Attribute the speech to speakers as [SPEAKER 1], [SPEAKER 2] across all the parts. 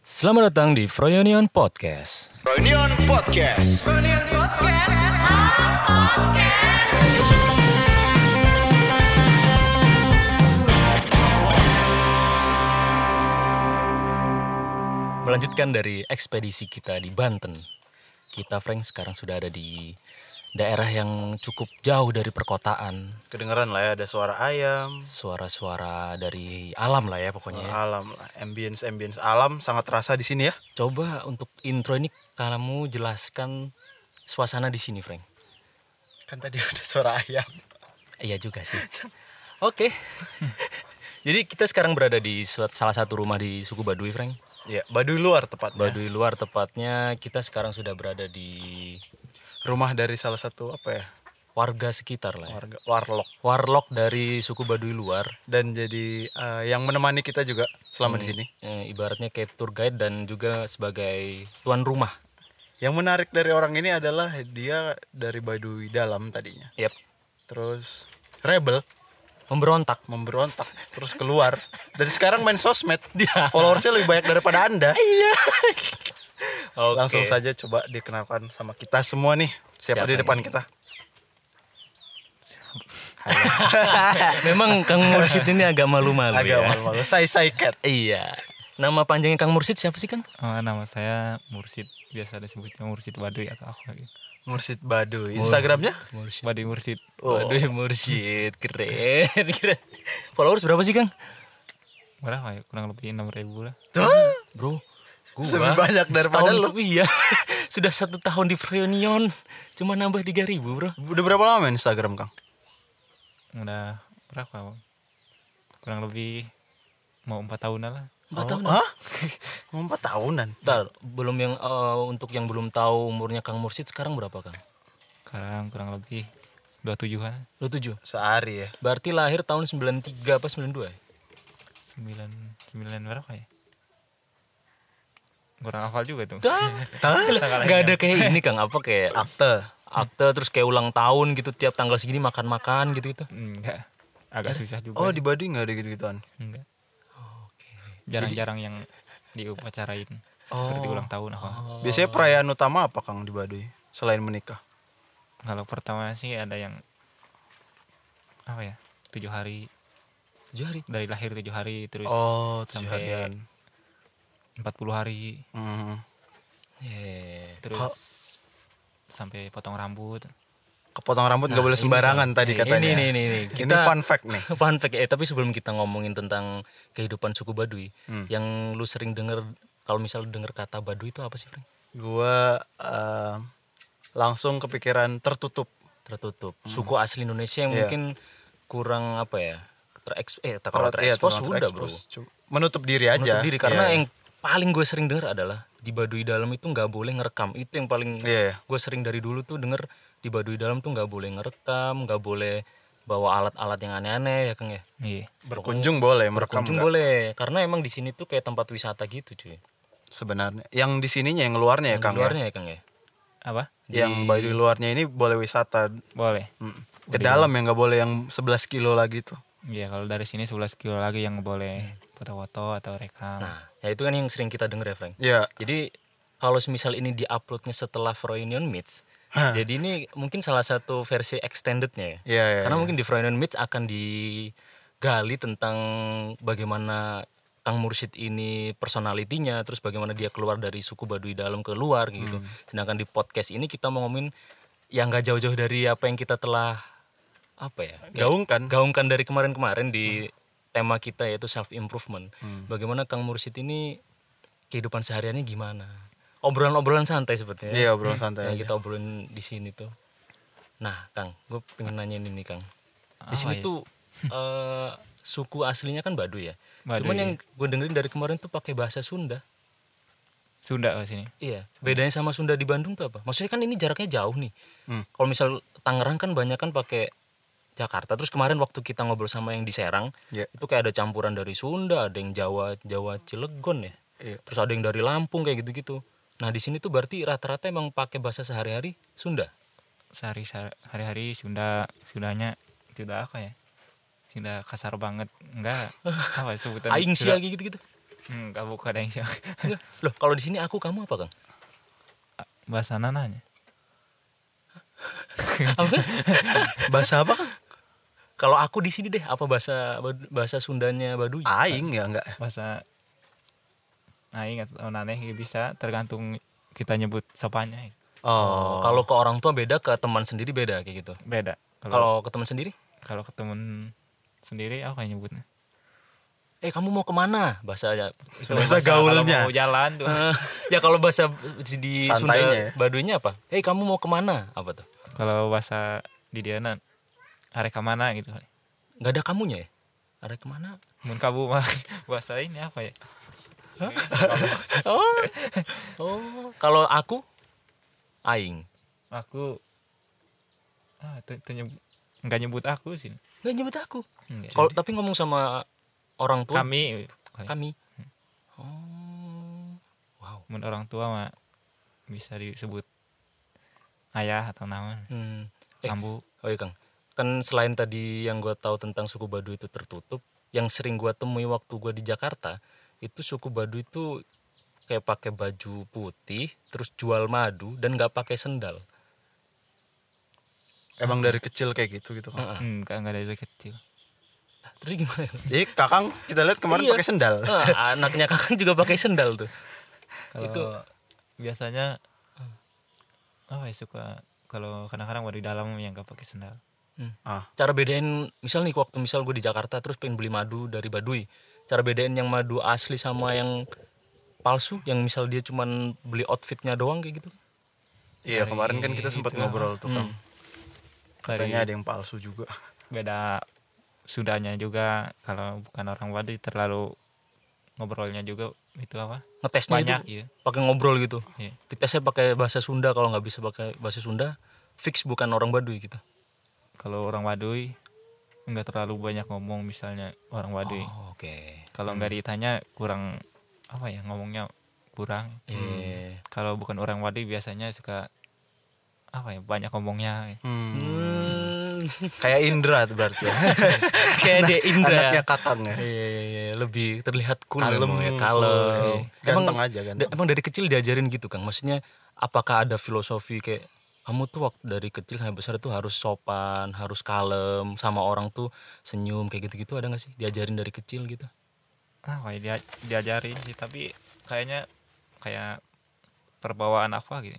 [SPEAKER 1] Selamat datang di Froyonion Podcast.
[SPEAKER 2] Reunion Podcast.
[SPEAKER 1] Melanjutkan dari ekspedisi kita di Banten. Kita Frank sekarang sudah ada di daerah yang cukup jauh dari perkotaan.
[SPEAKER 3] Kedengeran lah ya ada suara ayam,
[SPEAKER 1] Suara-suara dari alam lah ya pokoknya. ya.
[SPEAKER 3] alam lah, ambience ambience alam sangat terasa di sini ya.
[SPEAKER 1] Coba untuk intro ini kamu jelaskan suasana di sini, Frank.
[SPEAKER 3] Kan tadi udah suara ayam.
[SPEAKER 1] Iya juga sih. Oke. Jadi kita sekarang berada di sel- salah satu rumah di suku Baduy, Frank.
[SPEAKER 3] Ya, baduy luar tepatnya.
[SPEAKER 1] Baduy luar tepatnya kita sekarang sudah berada di
[SPEAKER 3] Rumah dari salah satu apa ya?
[SPEAKER 1] warga sekitar lah. ya.
[SPEAKER 3] Warga warlock
[SPEAKER 1] Warlock dari suku Baduy luar.
[SPEAKER 3] dan jadi eh, yang menemani kita juga selama di sini.
[SPEAKER 1] Eh, ibaratnya kayak tour guide dan juga sebagai tuan rumah.
[SPEAKER 3] Yang menarik dari orang ini adalah dia dari baduy dalam tadinya.
[SPEAKER 1] Yap.
[SPEAKER 3] Terus rebel
[SPEAKER 1] Memberontak.
[SPEAKER 3] memberontak terus keluar dan sekarang main sosmed followersnya lebih banyak daripada anda
[SPEAKER 1] Oke.
[SPEAKER 3] Iya. langsung saja coba dikenalkan sama kita semua nih
[SPEAKER 1] Siapa
[SPEAKER 3] siapa, di
[SPEAKER 1] nih?
[SPEAKER 3] depan kita
[SPEAKER 1] Memang Kang Mursid ini agak malu-malu
[SPEAKER 3] agak
[SPEAKER 1] ya.
[SPEAKER 3] malu-malu say say cat
[SPEAKER 1] Iya. Nama panjangnya Kang Mursid siapa sih, Kang?
[SPEAKER 4] Eh, nama saya Mursid, biasa disebutnya Mursid Baduy atau apa gitu.
[SPEAKER 3] mursid baduy instagramnya
[SPEAKER 1] Mursid.
[SPEAKER 4] Baduy Mursid.
[SPEAKER 1] Oh.
[SPEAKER 3] Oh.
[SPEAKER 1] Waduh, Mursid. Keren. Keren. Followers berapa sih, Kang?
[SPEAKER 4] Berapa ya? Kurang lebih 6000 lah.
[SPEAKER 3] Tuh,
[SPEAKER 1] Bro, gua
[SPEAKER 3] Lebih banyak daripada
[SPEAKER 1] setahun- Iya. Sudah satu tahun di Freonion. Cuma nambah 3000, Bro.
[SPEAKER 3] udah berapa lama main instagram kang
[SPEAKER 4] Udah berapa, Bang? Kurang lebih mau 4 tahunan lah.
[SPEAKER 1] Empat tahun.
[SPEAKER 3] Hah? Mau empat tahunan
[SPEAKER 1] Bentar, belum yang eh, untuk yang belum tahu umurnya Kang Mursid sekarang berapa, Kang?
[SPEAKER 4] Sekarang kurang lebih 27-an,
[SPEAKER 1] 27.
[SPEAKER 3] sehari ya
[SPEAKER 1] Berarti lahir tahun 93 apa 92 ya?
[SPEAKER 4] 9 9 berapa ya? Kurang hafal juga tuh.
[SPEAKER 1] Gak ada kayak ini Kang, apa kayak
[SPEAKER 3] akte
[SPEAKER 1] akte terus kayak ulang tahun gitu tiap tanggal segini makan-makan gitu-gitu.
[SPEAKER 4] Enggak. Agak susah juga.
[SPEAKER 3] oh di baduy nggak ada gitu gituan
[SPEAKER 4] Enggak.
[SPEAKER 1] Oke.
[SPEAKER 4] Jarang-jarang yang diupacarain. Seperti ulang tahun apa.
[SPEAKER 1] Oh.
[SPEAKER 3] biasanya perayaan utama apa kang di baduy selain menikah
[SPEAKER 4] Kalau pertama sih ada yang apa ya? tujuh hari
[SPEAKER 1] Tujuh hari.
[SPEAKER 4] dari lahir tujuh hari terus
[SPEAKER 3] oh tujuh
[SPEAKER 4] sampai-
[SPEAKER 3] harian
[SPEAKER 4] 40 hari
[SPEAKER 3] Hmm.
[SPEAKER 1] Eh,
[SPEAKER 4] terus
[SPEAKER 3] Kal-
[SPEAKER 4] sampai potong rambut
[SPEAKER 3] kepotong rambut nggak boleh sembarangan tadi
[SPEAKER 1] Nah, ini,
[SPEAKER 3] katanya
[SPEAKER 1] ini, ini, ini.
[SPEAKER 3] ini
[SPEAKER 1] Kita-
[SPEAKER 3] fun fact nih
[SPEAKER 1] Fun fact eh tapi sebelum kita ngomongin tentang kehidupan suku Baduy,
[SPEAKER 3] Hmm.
[SPEAKER 1] yang lu sering denger kalau misal denger kata Baduy itu apa sih, Frank?
[SPEAKER 3] gue eh, langsung kepikiran tertutup
[SPEAKER 1] Tertutup. Suku asli Indonesia yang
[SPEAKER 3] Hmm. Iya.
[SPEAKER 1] mungkin kurang apa ya? Tereks eh ter- kalau
[SPEAKER 3] Ter- iya,
[SPEAKER 1] terekspos
[SPEAKER 3] terlalu
[SPEAKER 1] sudah, Bro.
[SPEAKER 3] terekspos. Cuma- menutup diri aja
[SPEAKER 1] menutup diri karena
[SPEAKER 3] Iya.
[SPEAKER 1] yang paling gue sering denger adalah di Baduy Dalam itu nggak boleh ngerekam itu yang paling
[SPEAKER 3] Iya.
[SPEAKER 1] gue sering dari dulu tuh denger di Baduy Dalam tuh nggak boleh ngerekam nggak boleh bawa alat-alat yang aneh-aneh ya Kang ya
[SPEAKER 4] iya
[SPEAKER 3] berkunjung boleh merekam
[SPEAKER 1] kunjung
[SPEAKER 3] nggak?
[SPEAKER 1] boleh karena emang di sini tuh kayak tempat wisata gitu cuy
[SPEAKER 3] sebenarnya yang di sininya yang luarnya ya
[SPEAKER 1] Yang
[SPEAKER 3] kang
[SPEAKER 1] di luarnya ya Kang ya
[SPEAKER 4] apa
[SPEAKER 3] ya? yang baju luarnya ini boleh wisata
[SPEAKER 4] boleh
[SPEAKER 3] Mm. ke dalam ya nggak boleh yang 11 kilo lagi tuh
[SPEAKER 4] iya kalau dari sini 11 kilo lagi yang boleh foto-foto atau rekam
[SPEAKER 1] nah ya itu kan yang sering kita denger ya Frank
[SPEAKER 3] ya
[SPEAKER 1] Jadi kalau semisal ini diuploadnya setelah Froynion Meets, jadi ini mungkin salah satu versi extendednya ya.
[SPEAKER 3] Iya, iya,
[SPEAKER 1] Karena mungkin di Froynion Meets akan digali tentang bagaimana Kang Mursid ini personalitinya, terus bagaimana dia keluar dari suku Baduy dalam keluar gitu.
[SPEAKER 3] Hmm.
[SPEAKER 1] Sedangkan di podcast ini kita mau ngomongin yang nggak jauh-jauh dari apa yang kita telah apa ya
[SPEAKER 3] gaung kan
[SPEAKER 1] gaungkan dari kemarin-kemarin di
[SPEAKER 3] Hmm.
[SPEAKER 1] tema kita yaitu self improvement. Bagaimana Kang Mursid ini kehidupan sehariannya gimana? Obrolan-obrolan santai sepertinya.
[SPEAKER 3] iya obrolan santai
[SPEAKER 1] Yang
[SPEAKER 3] aja.
[SPEAKER 1] kita obrolin di sini tuh. Nah, Kang, gue pengen nanyain ini, Kang. Di
[SPEAKER 3] Ah,
[SPEAKER 4] Apa
[SPEAKER 1] sini
[SPEAKER 3] iya.
[SPEAKER 4] ya?
[SPEAKER 1] tuh eh, suku aslinya kan Baduy ya.
[SPEAKER 4] Baduy.
[SPEAKER 1] Cuman yang
[SPEAKER 3] iya.
[SPEAKER 1] gue dengerin dari kemarin tuh pakai bahasa Sunda.
[SPEAKER 4] Sunda ke sini
[SPEAKER 1] Iya, bedanya sama Sunda di Bandung tuh apa? Maksudnya kan ini jaraknya jauh nih. Kalau misal Tangerang kan banyak kan pakai Jakarta. Terus kemarin waktu kita ngobrol sama yang di Serang,
[SPEAKER 3] Iya.
[SPEAKER 1] itu kayak ada campuran dari Sunda, ada yang Jawa, Jawa Cilegon ya.
[SPEAKER 3] Iya.
[SPEAKER 1] Terus ada yang dari Lampung kayak gitu-gitu. Nah, di sini tuh berarti rata-rata emang pakai bahasa sehari-hari Sunda.
[SPEAKER 4] sehari hari-hari Sunda Sundanya Sunda apa ya Sunda kasar banget enggak apa sebutan
[SPEAKER 1] Aing
[SPEAKER 4] Sunda-
[SPEAKER 1] sia kayak gitu-gitu.
[SPEAKER 4] Enggak bukan yang siapa.
[SPEAKER 1] Enggak. Loh, kalau di sini aku kamu apa, Kang?
[SPEAKER 4] Bahasa nananya.
[SPEAKER 3] Bahasa apa?
[SPEAKER 1] Kalau aku di sini deh, apa bahasa bahasa Sundanya Baduy?
[SPEAKER 3] Aing ya enggak.
[SPEAKER 4] Bahasa aing atau naneh ya bisa tergantung kita nyebut sapanya. ya.
[SPEAKER 3] Oh.
[SPEAKER 1] Kalau ke orang tua beda, ke teman sendiri beda kayak gitu.
[SPEAKER 4] Beda. Kalau
[SPEAKER 1] Kalau ke teman sendiri,
[SPEAKER 4] kalau ke temen sendiri aku kayak nyebutnya.
[SPEAKER 1] eh kamu mau kemana? Bahasa itu
[SPEAKER 3] Bahasa gaulnya.
[SPEAKER 4] Kalau mau jalan tuh
[SPEAKER 1] ya kalau bahasa di
[SPEAKER 3] Santainya ya.
[SPEAKER 1] Sunda Baduynya apa? Eh kamu mau kemana? Apa tuh?
[SPEAKER 4] kalau bahasa di diana arek ka mana gitu.
[SPEAKER 1] Gak ada kamunya ya? Ada kemana?
[SPEAKER 4] Mun kabu mah bahasa ini apa ya?
[SPEAKER 1] Oh, oh. Kalau aku, aing.
[SPEAKER 4] Aku ah tuh, tuh nyebut nggak nyebut aku sih.
[SPEAKER 1] Gak nyebut aku.
[SPEAKER 4] Enggak.
[SPEAKER 1] Kalau kan tapi ngomong sama orang tua kami.
[SPEAKER 4] kami
[SPEAKER 1] Oh, wow.
[SPEAKER 4] mun orang tua mah bisa disebut ayah atau nama
[SPEAKER 1] Hmm. Eh,
[SPEAKER 4] ambu
[SPEAKER 1] oh iya Kang. Kan selain tadi yang gue tahu tentang suku Baduy itu tertutup, yang sering gue temui waktu gue di Jakarta itu suku Baduy itu kayak pakai baju putih, terus jual madu dan nggak pakai sendal.
[SPEAKER 3] Emang dari kecil kayak gitu gitu kan.
[SPEAKER 4] enggak enggak dari kecil
[SPEAKER 1] Terus gimana?
[SPEAKER 3] Jadi kakang Iya, kita lihat kemarin
[SPEAKER 1] Iya.
[SPEAKER 3] pakai sendal.
[SPEAKER 1] Ah, anaknya kakak juga pakai sendal tuh.
[SPEAKER 4] kalau itu
[SPEAKER 1] Itu-
[SPEAKER 4] biasanya apa ya suka kalau kadang-kadang baru di dalam yang gak pakai sendal
[SPEAKER 3] Ah,
[SPEAKER 1] Cara bedain misal nih waktu misal gue di Jakarta terus pengen beli madu dari Baduy. Cara bedain yang madu asli sama yang palsu yang misal dia cuman beli outfitnya doang kayak gitu.
[SPEAKER 3] iya kemarin kan kita sempat ngobrol tuh Kang.
[SPEAKER 4] dari
[SPEAKER 3] Katanya ada yang palsu juga.
[SPEAKER 4] beda sudahnya juga kalau bukan orang Baduy terlalu ngobrolnya juga itu apa
[SPEAKER 1] Ngetesnya
[SPEAKER 4] banyak
[SPEAKER 1] Nah, itu
[SPEAKER 4] ya
[SPEAKER 1] pakai ngobrol gitu.
[SPEAKER 4] Iya.
[SPEAKER 1] Ditesnya pakai bahasa Sunda kalau nggak bisa pakai bahasa Sunda fix bukan orang Baduy gitu.
[SPEAKER 4] kalau orang Baduy enggak terlalu banyak ngomong misalnya orang Baduy
[SPEAKER 1] Oh, Oke.
[SPEAKER 4] kalau nggak ditanya kurang apa ya ngomongnya kurang
[SPEAKER 1] Eh.
[SPEAKER 4] kalau bukan orang Baduy biasanya suka apa ya banyak ngomongnya
[SPEAKER 3] Hmm.
[SPEAKER 1] Hmm.
[SPEAKER 3] Kayak Indra tuh berarti. ya.
[SPEAKER 1] kayak dia Indra.
[SPEAKER 3] Anaknya kakang ya.
[SPEAKER 1] Iya, iya, iya, lebih terlihat cool
[SPEAKER 3] Kalem,
[SPEAKER 1] memang ya,
[SPEAKER 3] cool.
[SPEAKER 1] kalem.
[SPEAKER 3] Ganteng aja, ganteng.
[SPEAKER 1] da- emang dari kecil diajarin gitu Kang. Maksudnya apakah ada filosofi kayak kamu tuh waktu dari kecil sampai besar tuh harus sopan, harus kalem sama orang tuh senyum kayak gitu-gitu ada gak sih? Diajarin dari kecil gitu.
[SPEAKER 4] apa ya dia diajarin sih tapi kayaknya kayak perbawaan apa gitu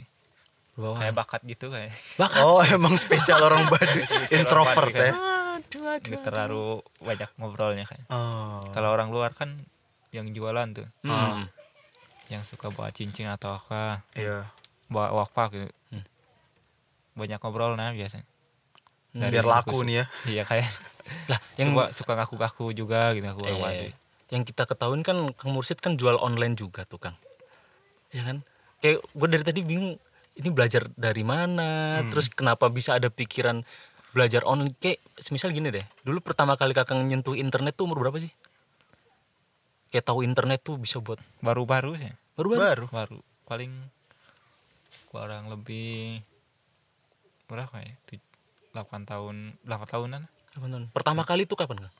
[SPEAKER 1] Bawah.
[SPEAKER 4] kayak bakat gitu kayak
[SPEAKER 3] Oh emang spesial orang Baduy, introvert ya.
[SPEAKER 4] nggak terlalu banyak ngobrolnya kayak
[SPEAKER 3] Oh.
[SPEAKER 4] kalau orang luar kan yang jualan tuh
[SPEAKER 1] Hmm.
[SPEAKER 4] Ah, yang suka bawa cincin atau apa
[SPEAKER 3] Iya.
[SPEAKER 4] bawa wakpak gitu
[SPEAKER 1] Hmm.
[SPEAKER 4] banyak ngobrol nah biasanya
[SPEAKER 1] Hmm.
[SPEAKER 3] Biar laku
[SPEAKER 4] suku-suku.
[SPEAKER 3] nih ya.
[SPEAKER 4] iya kayak
[SPEAKER 1] Lah, yang
[SPEAKER 4] yang suka, suka ngaku-ngaku juga gitu
[SPEAKER 1] eh,
[SPEAKER 4] aku orang Baduy.
[SPEAKER 1] yang kita ketahuin kan Kang Mursid kan jual online juga tuh Kang. Ya kan? Kayak gue dari tadi bingung ini belajar dari mana, terus kenapa bisa ada pikiran belajar online kayak semisal gini deh. Dulu pertama kali Kakang nyentuh internet tuh umur berapa sih? Kayak tahu internet tuh bisa buat
[SPEAKER 4] baru-baru sih
[SPEAKER 1] baru baru.
[SPEAKER 3] Baru.
[SPEAKER 4] baru paling kurang lebih berapa ya Tuj- 8 tahun 8 tahunan
[SPEAKER 1] Kapan tahun? Pertama kali tuh kapan Kang?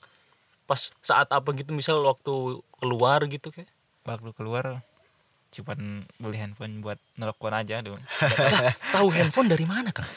[SPEAKER 1] Pas saat apa gitu misal waktu keluar gitu kayak.
[SPEAKER 4] waktu keluar cuman beli handphone buat nelpon aja dong
[SPEAKER 1] Tahu handphone dari mana Kang?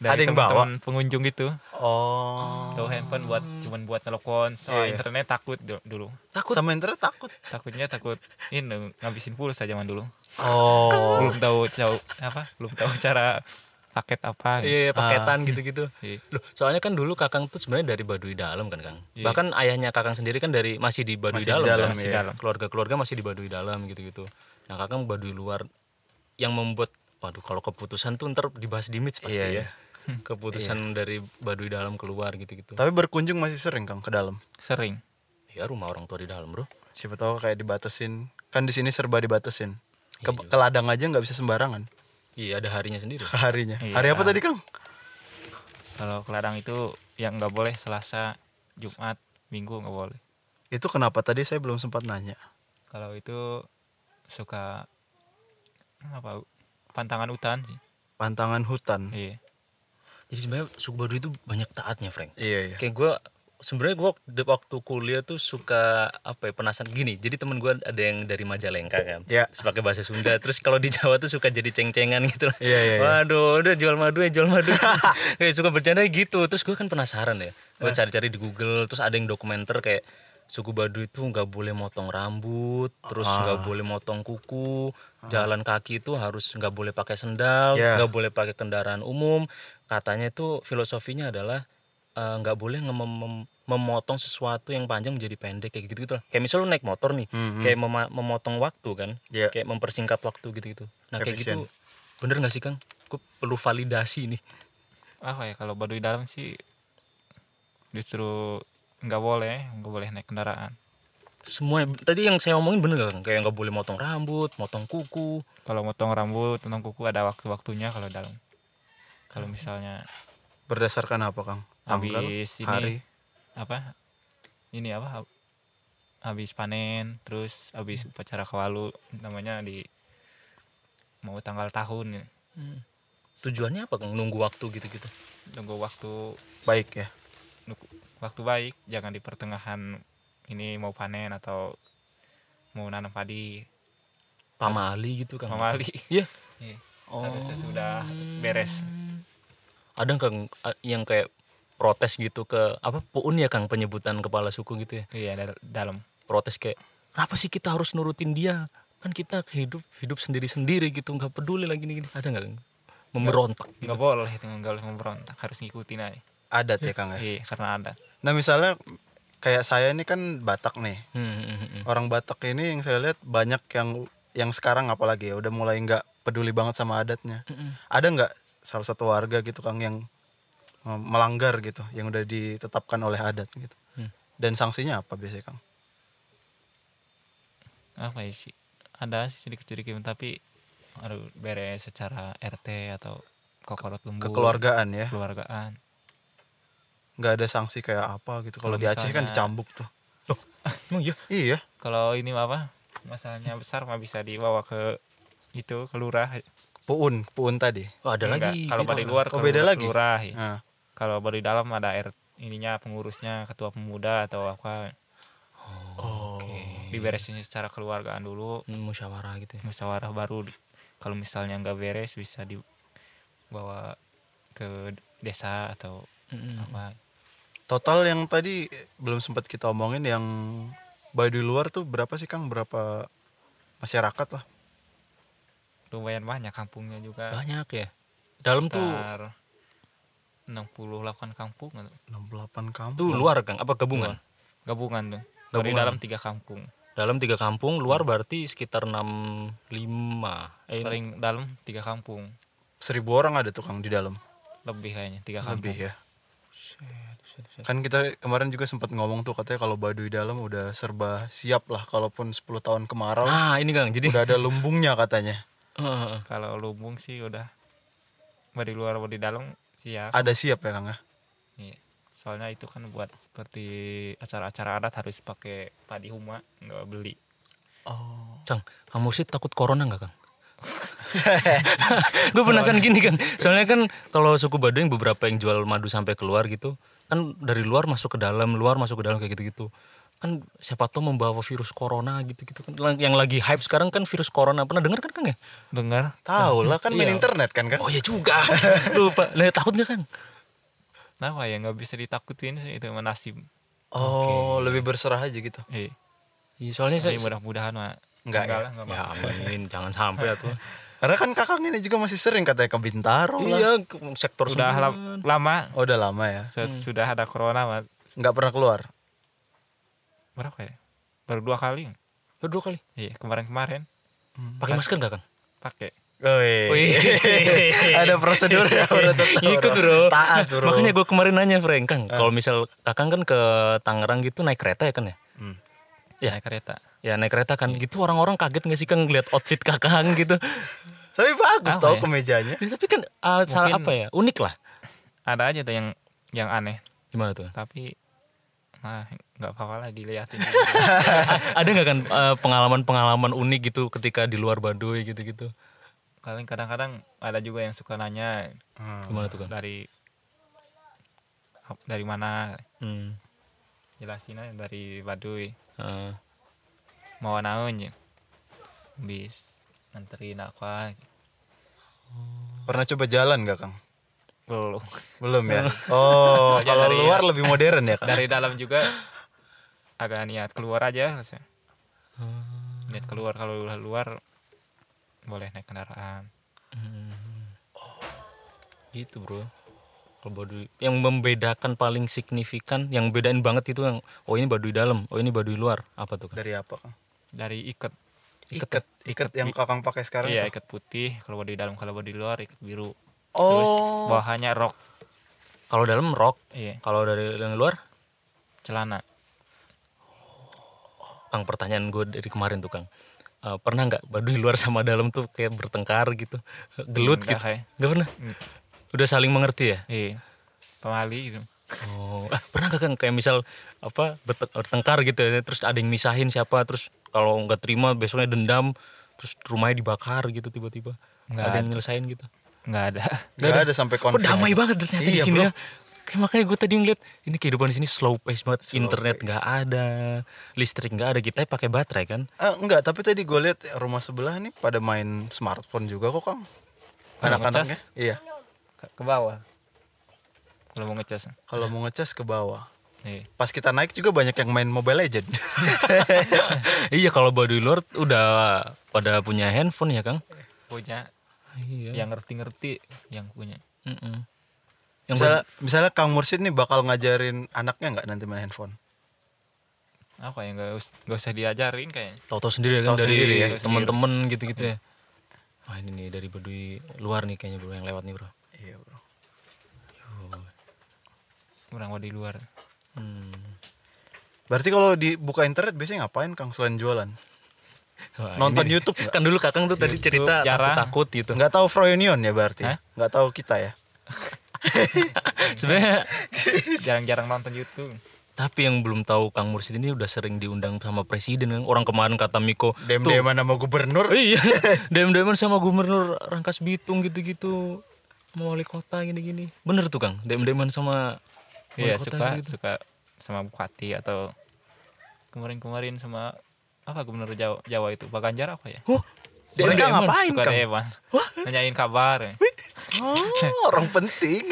[SPEAKER 4] dari
[SPEAKER 3] Ada yang bawa?
[SPEAKER 4] teman-teman pengunjung gitu
[SPEAKER 3] Oh. Iya,
[SPEAKER 4] tahu handphone buat cuman buat nelpon soal internet takut du- dulu
[SPEAKER 1] Takut.
[SPEAKER 3] Sama Indra takut.
[SPEAKER 4] takutnya takut ini ngabisin pulsa zaman dulu
[SPEAKER 3] Oh.
[SPEAKER 4] belum tahu jauh apa belum tahu cara paket apa gitu.
[SPEAKER 3] Ah,
[SPEAKER 1] Iya, paketan gitu-gitu.
[SPEAKER 4] Iya.
[SPEAKER 1] Loh, soalnya kan dulu Kakang tuh sebenarnya dari Baduy Dalam kan, Kang. Bahkan ayahnya Kakang sendiri kan dari masih di Baduy
[SPEAKER 3] Iya.
[SPEAKER 1] Dalam,
[SPEAKER 3] Masih di dalam,
[SPEAKER 1] kan?
[SPEAKER 3] iya.
[SPEAKER 1] Keluarga-keluarga masih di Baduy Dalam gitu-gitu. Nah, Kakang Baduy luar yang membuat waduh kalau keputusan tuh ntar dibahas di Mitch pasti
[SPEAKER 3] Iya, iya.
[SPEAKER 1] ya. Keputusan dari Baduy Dalam keluar gitu-gitu.
[SPEAKER 3] Tapi berkunjung masih sering Kang ke dalam.
[SPEAKER 4] sering
[SPEAKER 1] Ya rumah orang tua di dalam, Bro.
[SPEAKER 3] Siapa tahu kayak dibatasin. Kan di sini serba dibatasin. Ke, ke ladang aja nggak bisa sembarangan
[SPEAKER 1] Iya, ada harinya sendiri.
[SPEAKER 3] ke harinya. Hari apa tadi Kang?
[SPEAKER 4] kalau ke ladang itu yang nggak boleh Selasa, Jumat, Minggu nggak boleh.
[SPEAKER 3] Itu kenapa tadi saya belum sempat nanya.
[SPEAKER 4] Kalau itu suka apa pantangan hutan sih.
[SPEAKER 3] Pantangan hutan.
[SPEAKER 4] Iya.
[SPEAKER 1] Jadi sebenarnya suku Baduy itu banyak taatnya, Frank.
[SPEAKER 3] Iya iya.
[SPEAKER 1] Kayak gue sebenarnya gue waktu, waktu kuliah tuh suka apa ya penasaran gini jadi temen gue ada yang dari Majalengka kan
[SPEAKER 3] Ya.
[SPEAKER 1] Terus pakai bahasa Sunda terus kalau di Jawa tuh suka jadi ceng-cengan gitu lah
[SPEAKER 3] Iya, iya, iya.
[SPEAKER 1] waduh udah jual madu ya jual madu kayak suka bercanda gitu terus gue kan penasaran ya gue
[SPEAKER 3] Iya.
[SPEAKER 1] cari-cari di Google terus ada yang dokumenter kayak suku Baduy itu nggak boleh motong rambut terus
[SPEAKER 3] Ah.
[SPEAKER 1] nggak boleh motong kuku jalan kaki itu harus nggak boleh pakai sendal
[SPEAKER 3] Ya.
[SPEAKER 1] nggak boleh pakai kendaraan umum katanya itu filosofinya adalah eh, nggak boleh nge- mem- mem- memotong sesuatu yang panjang menjadi pendek kayak gitu gitu lah kayak misal lu naik motor nih kayak mema- memotong waktu kan
[SPEAKER 3] Iya.
[SPEAKER 1] kayak mempersingkat waktu gitu gitu nah kayak
[SPEAKER 3] Efisien.
[SPEAKER 1] gitu bener nggak sih kang gue perlu validasi nih
[SPEAKER 4] apa ya kalau baduy dalam sih justru nggak boleh nggak boleh naik kendaraan
[SPEAKER 1] semua tadi yang saya omongin bener nggak Kang? kayak nggak boleh motong rambut motong kuku
[SPEAKER 4] kalau motong rambut motong kuku ada waktu waktunya kalau dalam kalau misalnya
[SPEAKER 3] Berdasarkan apa, Kang? Tanggal,
[SPEAKER 4] habis ini
[SPEAKER 3] hari.
[SPEAKER 4] apa ini apa hab- habis panen terus habis upacara kewalu namanya di mau tanggal tahun ya.
[SPEAKER 1] tujuannya apa kang nunggu waktu gitu gitu
[SPEAKER 4] tunggu waktu
[SPEAKER 3] Baik ya.
[SPEAKER 4] nunggu- waktu baik jangan di pertengahan ini mau panen atau mau nanam padi
[SPEAKER 1] pamali gitu kang
[SPEAKER 4] pamali
[SPEAKER 1] iya
[SPEAKER 4] Iya. harusnya sudah beres
[SPEAKER 1] ada kang eh, yang kayak protes gitu ke apa puun ya kang penyebutan kepala suku gitu ya
[SPEAKER 4] iya dal- dalam
[SPEAKER 1] protes kayak apa sih kita harus nurutin dia kan kita hidup hidup sendiri sendiri gitu nggak peduli lagi gini, gini. ada nggak Kang? memberontak
[SPEAKER 4] nggak boleh itu Gitu. nggak boleh memberontak harus ngikutin aja
[SPEAKER 3] Adat ya, Kang ya.
[SPEAKER 4] iya karena ada
[SPEAKER 3] Nah, misalnya kayak saya ini kan Batak nih.
[SPEAKER 1] Hmm, hmm, hmm, hmm.
[SPEAKER 3] Orang Batak ini yang saya lihat banyak yang yang sekarang apalagi ya udah mulai nggak peduli banget sama adatnya.
[SPEAKER 1] Hmm,
[SPEAKER 3] Ada nggak salah satu warga gitu, Kang, yang eh, melanggar gitu, yang udah ditetapkan oleh adat gitu.
[SPEAKER 1] Hmm.
[SPEAKER 3] Dan sanksinya apa biasanya, Kang?
[SPEAKER 4] apa ya sih ada sih sedikit-sedikit tapi harus beres secara RT atau kokorot lembur
[SPEAKER 3] Kekeluargaan ya.
[SPEAKER 4] keluargaan
[SPEAKER 3] nggak ada sanksi kayak apa gitu. Kalau
[SPEAKER 4] Kalau
[SPEAKER 3] di Aceh kan
[SPEAKER 4] misalnya-
[SPEAKER 3] dicambuk tuh.
[SPEAKER 1] emang iya
[SPEAKER 3] Iya.
[SPEAKER 4] kalau ini mah apa masalahnya besar mah bisa dibawa ke itu ke lurah
[SPEAKER 3] Puun, puun tadi.
[SPEAKER 1] oh, ada
[SPEAKER 4] Enggak,
[SPEAKER 1] lagi
[SPEAKER 4] kalau
[SPEAKER 1] beda.
[SPEAKER 4] dari luar
[SPEAKER 3] Oh,
[SPEAKER 4] kalau
[SPEAKER 3] beda
[SPEAKER 4] lurah-
[SPEAKER 3] lagi?
[SPEAKER 4] lurah ya.
[SPEAKER 3] Nah,
[SPEAKER 4] kalau dari dalam ada R ininya pengurusnya ketua pemuda atau apa diberesin secara keluargaan dulu
[SPEAKER 1] Hmm, musyawarah gitu ya.
[SPEAKER 4] musyawarah baru kalau misalnya nggak beres bisa dibawa ke desa atau
[SPEAKER 1] Hmm,
[SPEAKER 4] apa
[SPEAKER 3] total yang tadi belum sempat kita omongin yang baduy luar tuh berapa sih Kang? Berapa masyarakat lah?
[SPEAKER 4] lumayan banyak kampungnya juga
[SPEAKER 1] banyak ya dalam tuh
[SPEAKER 4] sekitar 68 kampung atau-
[SPEAKER 3] 68 kampung.
[SPEAKER 1] tuh luar kang apa gabungan
[SPEAKER 4] gabungan tuh dari
[SPEAKER 1] Gabungan.
[SPEAKER 4] dalam tiga kampung
[SPEAKER 1] dalam tiga kampung luar berarti sekitar enam lima eh,
[SPEAKER 4] paling dalam tiga kampung
[SPEAKER 3] Seribu orang ada tuh Kang di dalam.
[SPEAKER 4] lebih kayaknya tiga kampung
[SPEAKER 3] Lebih ya. Kan kita kemarin juga sempat ngomong tuh katanya kalau baduy dalam udah serba siap lah kalaupun 10 tahun kemarau
[SPEAKER 1] nah ini kang jadi
[SPEAKER 3] udah ada lumbungnya katanya.
[SPEAKER 1] Heeh.
[SPEAKER 4] kalau lumbung sih udah dari luar dari dalam siap
[SPEAKER 3] Ada siap ya Kang ya?
[SPEAKER 4] Iya. soalnya itu kan buat seperti acara-acara adat harus pakai padi huma nggak beli
[SPEAKER 3] Oh.
[SPEAKER 1] Kang, Kang Mursid takut corona nggak Kang? gue penasaran gini Kang, soalnya kan kalau suku Baduy yang beberapa yang jual madu sampai keluar gitu, kan dari luar masuk ke dalam, luar masuk ke dalam kayak gitu-gitu. Kan siapa tahu membawa virus corona gitu-gitu kan. Lang- Yang lagi hype sekarang kan virus corona. Pernah dengar kan Kang ya?
[SPEAKER 4] dengar
[SPEAKER 3] Tahu lah kan main
[SPEAKER 1] Iya.
[SPEAKER 3] internet kan
[SPEAKER 1] Oh
[SPEAKER 3] Kang?
[SPEAKER 1] ya juga. Lupa. Lah, takut nggak Kang?
[SPEAKER 4] kenapa ya nggak bisa ditakutin sih itu mah nasib
[SPEAKER 3] Oh, lebih berserah aja gitu.
[SPEAKER 4] eh
[SPEAKER 1] Iya, soalnya saya
[SPEAKER 4] tapi mudah-mudahan mah
[SPEAKER 3] Nggak ya?
[SPEAKER 4] lah nggak
[SPEAKER 1] ya
[SPEAKER 4] masuk
[SPEAKER 1] amin, jangan sampai ya, atuh.
[SPEAKER 3] Karena kan kakak ini juga masih sering katanya ke Bintaro lah.
[SPEAKER 1] iya, ke- sektor
[SPEAKER 4] udah
[SPEAKER 1] semua.
[SPEAKER 4] lam- lama Hmm.
[SPEAKER 3] Oh, udah lama ya.
[SPEAKER 4] se- sudah ada corona mah
[SPEAKER 3] Nggak pernah keluar.
[SPEAKER 4] berapa ya baru dua kali
[SPEAKER 1] Kedua kali.
[SPEAKER 4] iya kemarin-kemarin
[SPEAKER 1] Pakai masker nggak Kang?
[SPEAKER 4] pakai
[SPEAKER 3] Wih. Ada prosedur ya bro, tetap,
[SPEAKER 1] Ikut bro. Eh.
[SPEAKER 3] Taat bro.
[SPEAKER 1] Makanya gue kemarin nanya Frank Kang, kalau misal Kakang kan ke Tangerang gitu naik kereta ya kan ya? Ya.
[SPEAKER 4] naik kereta
[SPEAKER 1] Ya naik kereta kan gitu orang-orang kaget nggak sih Kang ngeliat outfit Kakang gitu.
[SPEAKER 3] Tapi bagus
[SPEAKER 4] Apa
[SPEAKER 3] tau
[SPEAKER 4] ya?
[SPEAKER 3] kemejanya.
[SPEAKER 1] Ya, tapi kan uh, salah apa ya? Unik lah.
[SPEAKER 4] ada aja tuh yang yang aneh
[SPEAKER 1] Gimana tuh?
[SPEAKER 4] tapi nah nggak apa-apa lah dilihatin
[SPEAKER 1] A- ada nggak kan uh, pengalaman-pengalaman unik gitu ketika di luar Baduy gitu-gitu?
[SPEAKER 4] kalian kadang-kadang ada juga yang suka nanya
[SPEAKER 1] Hmm. Gimana tuh Kang?
[SPEAKER 4] dari ap- dari mana
[SPEAKER 1] Hmm.
[SPEAKER 4] jelasinnya dari Baduy
[SPEAKER 1] Heeh.
[SPEAKER 4] mau naon ya bis nganterin aku
[SPEAKER 3] Pernah coba jalan gak Kang?
[SPEAKER 4] belum
[SPEAKER 3] Belum ya. Oh,
[SPEAKER 4] Soalnya
[SPEAKER 3] kalau
[SPEAKER 4] dari-
[SPEAKER 3] luar lebih modern ya Kang.
[SPEAKER 4] dari dalam juga agak niat keluar aja harusnya. niat keluar kalau udah luar boleh naik kendaraan
[SPEAKER 1] gitu bro kalau baduy yang membedakan paling signifikan yang bedain banget itu yang oh ini baduy dalam oh ini baduy luar apa tuh kan
[SPEAKER 3] Dari apa Kang?
[SPEAKER 4] dari ikat
[SPEAKER 3] Iket, iket yang Kakang pakai sekarang.
[SPEAKER 4] iya
[SPEAKER 3] itu.
[SPEAKER 4] ikat putih kalau di dalam kalau di luar ikat biru terus
[SPEAKER 3] Oh.
[SPEAKER 4] bawahannya rok
[SPEAKER 1] kalau dalam rok
[SPEAKER 4] iya
[SPEAKER 1] kalau dari yang luar
[SPEAKER 4] celana
[SPEAKER 1] kang pertanyaan gue dari kemarin tuh kang Eh, pernah nggak baduy luar sama dalam tuh kayak bertengkar gitu gelut
[SPEAKER 4] Enggak
[SPEAKER 1] gitu
[SPEAKER 4] kayak.
[SPEAKER 1] nggak pernah
[SPEAKER 4] Hmm.
[SPEAKER 1] udah saling mengerti ya
[SPEAKER 4] iya pemali gitu
[SPEAKER 1] Oh, ah, pernah gak kan kayak misal apa berte- bertengkar gitu ya, terus ada yang misahin siapa, terus kalau nggak terima besoknya dendam, terus rumahnya dibakar gitu tiba-tiba.
[SPEAKER 4] Nggak
[SPEAKER 1] Ada yang nyelesain gitu.
[SPEAKER 4] nggak ada
[SPEAKER 3] Gak ada
[SPEAKER 1] Oh,
[SPEAKER 3] sampai konflik. ya?
[SPEAKER 1] damai banget ternyata di
[SPEAKER 3] Iya,
[SPEAKER 1] sini
[SPEAKER 3] bro.
[SPEAKER 1] ya. Kayak makanya gue tadi ngeliat ini kehidupan di sini slow pace banget. Internet nggak ada, listrik nggak ada, kita pakai baterai kan.
[SPEAKER 3] Ah, enggak, tapi tadi gue lihat rumah sebelah nih pada main smartphone juga kok Kang.
[SPEAKER 4] Kalau
[SPEAKER 3] Anak-anaknya.
[SPEAKER 4] ngecas?
[SPEAKER 3] Iya.
[SPEAKER 4] ke, ke bawah kalau mau ngecas
[SPEAKER 3] Kalau mau ngecas ke bawah.
[SPEAKER 4] iya
[SPEAKER 3] Pas kita naik juga banyak yang main Mobile Legend.
[SPEAKER 1] iya kalau baduy luar udah pada punya handphone ya Kang.
[SPEAKER 4] punya
[SPEAKER 1] Iya.
[SPEAKER 4] yang ngerti-ngerti yang punya
[SPEAKER 1] Mm-mm. Yang
[SPEAKER 3] misalnya, misalnya Kang Mursid nih bakal ngajarin anaknya nggak nanti main handphone?
[SPEAKER 4] apa ya nggak us- nggak usah diajarin kayaknya
[SPEAKER 1] Tahu-tahu sendiri ya kan
[SPEAKER 3] Tahu
[SPEAKER 1] dari
[SPEAKER 3] sendiri ya.
[SPEAKER 1] teman-teman gitu-gitu ya. Wah ini nih dari Baduy luar nih kayaknya bro yang lewat nih bro.
[SPEAKER 3] Iya bro.
[SPEAKER 4] orang mau di luar
[SPEAKER 1] Hmm.
[SPEAKER 3] Berarti kalau dibuka internet biasanya ngapain Kang selain jualan?
[SPEAKER 1] Wah,
[SPEAKER 3] Nonton
[SPEAKER 1] ini-
[SPEAKER 3] YouTube nggak?
[SPEAKER 1] Kan dulu kakang tuh tadi cerita
[SPEAKER 4] jarang.
[SPEAKER 1] takut gitu.
[SPEAKER 3] Nggak tahu Froyonion ya berarti?
[SPEAKER 4] Hah?
[SPEAKER 3] Nggak tahu kita ya?
[SPEAKER 1] Sebenarnya
[SPEAKER 4] jarang-jarang nonton YouTube
[SPEAKER 1] tapi yang belum tahu Kang Mursid ini udah sering diundang sama presiden kan. Orang kemarin kata Miko.
[SPEAKER 3] Dem deman sama gubernur.
[SPEAKER 1] Iya. Dem-deman sama gubernur Rangkas Bitung gitu-gitu. Sama wali kota gini-gini. Bener tuh Kang. Dem-deman sama wali
[SPEAKER 4] Iya
[SPEAKER 1] kota
[SPEAKER 4] suka
[SPEAKER 1] gitu.
[SPEAKER 4] suka sama Bupati atau kemarin-kemarin sama apa gubernur Jawa, Jawa itu Pak Ganjar apa ya?
[SPEAKER 1] Huh,
[SPEAKER 3] Mereka
[SPEAKER 1] dem-deman.
[SPEAKER 3] ngapain
[SPEAKER 4] Suka
[SPEAKER 3] Kang?
[SPEAKER 4] Dewan. Nanyain kabar.
[SPEAKER 3] Oh, orang penting.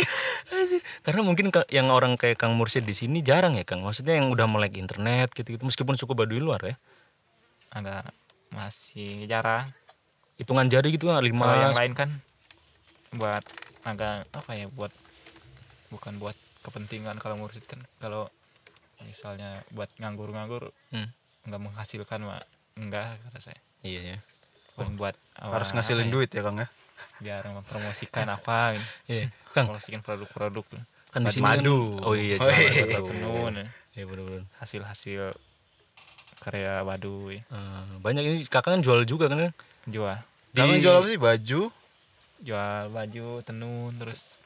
[SPEAKER 1] Karena mungkin ke- yang orang kayak Kang Mursid di sini jarang ya Kang. Maksudnya yang udah melek internet gitu-gitu. Meskipun suku Baduy luar ya.
[SPEAKER 4] Agak masih jarang.
[SPEAKER 1] Hitungan jari gitu kan
[SPEAKER 4] Kalau
[SPEAKER 1] lima.
[SPEAKER 4] yang lain kan buat agak apa ya buat bukan buat kepentingan kalau ngurusin kan kalau misalnya buat nganggur-nganggur
[SPEAKER 1] Hmm.
[SPEAKER 4] nggak menghasilkan mah enggak kata saya
[SPEAKER 1] Iya ya.
[SPEAKER 4] Cuman buat
[SPEAKER 3] Harus
[SPEAKER 4] apa
[SPEAKER 3] ngasilin
[SPEAKER 4] ya,
[SPEAKER 3] duit ya Kang ya?
[SPEAKER 4] biar mempromosikan apa gitu.
[SPEAKER 1] Iya. Kang,
[SPEAKER 4] mempromosikan produk-produk
[SPEAKER 1] kan di
[SPEAKER 3] Buat
[SPEAKER 1] sini
[SPEAKER 3] madu.
[SPEAKER 1] Kan, oh iya,
[SPEAKER 3] Oh, iya.
[SPEAKER 1] jualan madu.
[SPEAKER 4] tenun ya.
[SPEAKER 1] Iya bener-bener.
[SPEAKER 4] hasil-hasil karya Baduy
[SPEAKER 1] Eh, banyak ini kakak kan jual juga kan. ya?
[SPEAKER 4] jual
[SPEAKER 1] Di
[SPEAKER 3] Kang jual apa sih? Baju,
[SPEAKER 4] jual baju tenun terus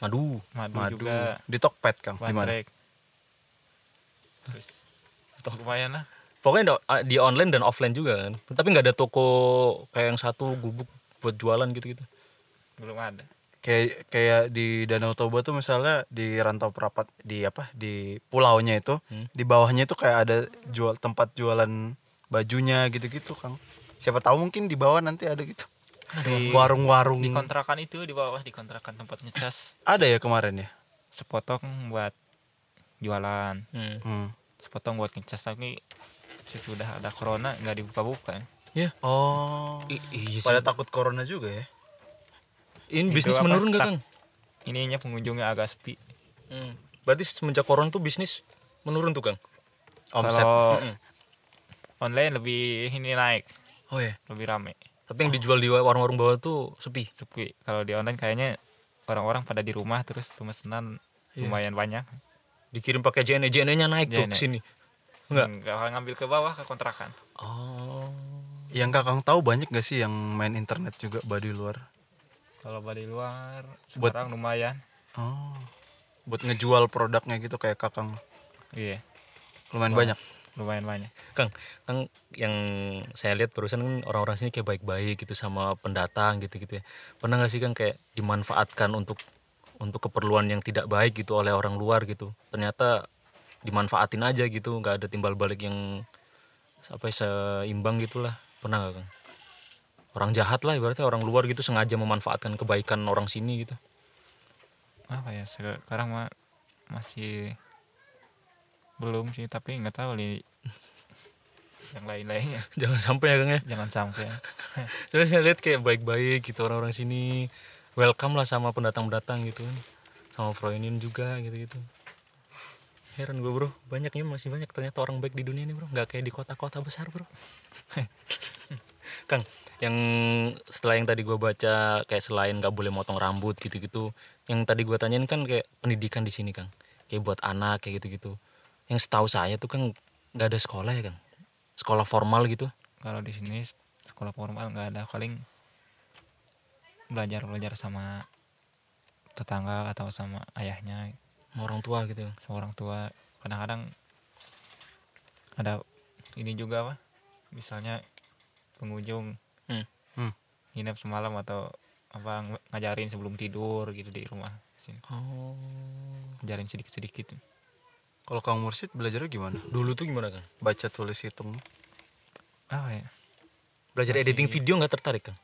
[SPEAKER 1] madu.
[SPEAKER 4] madu,
[SPEAKER 3] madu,
[SPEAKER 4] juga
[SPEAKER 3] di Tokped Kang. Di mana?
[SPEAKER 4] batrek terus lumayan lah
[SPEAKER 1] Pokoknya do- di online dan offline juga kan. Tapi nggak ada toko kayak yang satu gubuk buat jualan gitu-gitu.
[SPEAKER 4] belum ada
[SPEAKER 3] kayak kayak di Danau Toba tuh misalnya di Rantau Prapat di apa di pulaunya itu
[SPEAKER 1] Hmm.
[SPEAKER 3] di bawahnya itu kayak ada jual tempat jualan bajunya gitu-gitu Kang siapa tahu mungkin di bawah nanti ada gitu
[SPEAKER 4] Di-
[SPEAKER 3] warung-warung
[SPEAKER 4] di kontrakan itu di bawah di kontrakan tempat ngecas
[SPEAKER 3] ada ya kemarin ya
[SPEAKER 4] sepotong buat jualan
[SPEAKER 1] Hmm.
[SPEAKER 3] Hmm.
[SPEAKER 4] sepotong buat ngecas tapi sesudah ada corona nggak dibuka-buka
[SPEAKER 1] Ya.
[SPEAKER 3] oh
[SPEAKER 1] I- iya sih.
[SPEAKER 3] pada takut corona juga ya
[SPEAKER 1] ini
[SPEAKER 4] Itu
[SPEAKER 1] bisnis
[SPEAKER 4] apa?
[SPEAKER 1] menurun nggak
[SPEAKER 4] Tak-
[SPEAKER 1] Kang?
[SPEAKER 4] ininya pengunjungnya agak sepi
[SPEAKER 1] Hmm. Berarti semenjak corona tuh bisnis menurun tuh Kang?
[SPEAKER 3] omset
[SPEAKER 4] kalau online lebih ini naik
[SPEAKER 1] Oh ya.
[SPEAKER 4] lebih rame
[SPEAKER 1] Tapi yang dijual di warung-warung bawah tuh sepi.
[SPEAKER 4] sepi kalau di online kayaknya orang-orang pada di rumah terus pemesanan
[SPEAKER 3] Iya.
[SPEAKER 4] lumayan banyak
[SPEAKER 1] Dikirim pakai E. JNE, JNE-nya naik tuh
[SPEAKER 4] JNE.
[SPEAKER 1] ke sini. Enggak.
[SPEAKER 4] nggak bakal ngambil ke bawah ke kontrakan
[SPEAKER 1] Oh.
[SPEAKER 3] yang kakang tahu banyak gak sih yang main internet juga baduy luar
[SPEAKER 4] kalau dari luar
[SPEAKER 3] Buat-
[SPEAKER 4] sekarang lumayan
[SPEAKER 3] oh buat ngejual produknya gitu kayak kakang
[SPEAKER 4] iya
[SPEAKER 3] lumayan banyak
[SPEAKER 4] lumayan banyak
[SPEAKER 1] Kang, Kang yang saya lihat barusan kan orang-orang sini kayak baik-baik gitu sama pendatang gitu-gitu ya. Pernah nggak sih Kang kayak dimanfaatkan untuk untuk keperluan yang tidak baik gitu oleh orang luar gitu. Ternyata dimanfaatin aja gitu nggak ada timbal balik yang sampai seimbang gitulah pernah nggak kang orang jahat lah ibaratnya orang luar gitu sengaja memanfaatkan kebaikan orang sini gitu
[SPEAKER 4] apa ya sekarang mah masih belum sih tapi nggak tahu nih yang lain-lainnya
[SPEAKER 1] jangan sampai ya kang ya
[SPEAKER 4] jangan sampai
[SPEAKER 1] terus saya lihat kayak baik-baik gitu orang-orang sini welcome lah sama pendatang-pendatang gitu kan sama Freudian juga gitu-gitu heran gue bro banyaknya masih banyak ternyata orang baik di dunia ini bro nggak kayak di kota-kota besar bro Kang yang setelah yang tadi gue baca kayak selain nggak boleh motong rambut gitu-gitu yang tadi gue tanyain kan kayak pendidikan di sini Kang kayak buat anak kayak gitu-gitu yang setahu saya tuh kan nggak ada sekolah ya Kang sekolah formal gitu
[SPEAKER 4] kalau di sini sekolah formal nggak ada paling belajar belajar sama tetangga atau sama ayahnya
[SPEAKER 1] sama orang tua gitu
[SPEAKER 4] sama orang tua kadang-kadang ada ini juga apa misalnya pengunjung
[SPEAKER 1] Hmm.
[SPEAKER 3] Hmm.
[SPEAKER 4] nginep semalam atau apa ng- ngajarin sebelum tidur gitu di rumah sini
[SPEAKER 1] oh
[SPEAKER 4] ngajarin sedikit-sedikit
[SPEAKER 3] Kalau Kang Mursid belajarnya gimana?
[SPEAKER 1] dulu tuh gimana Kang
[SPEAKER 3] Baca tulis hitung.
[SPEAKER 4] apa ya
[SPEAKER 1] belajar editing video nggak tertarik Kang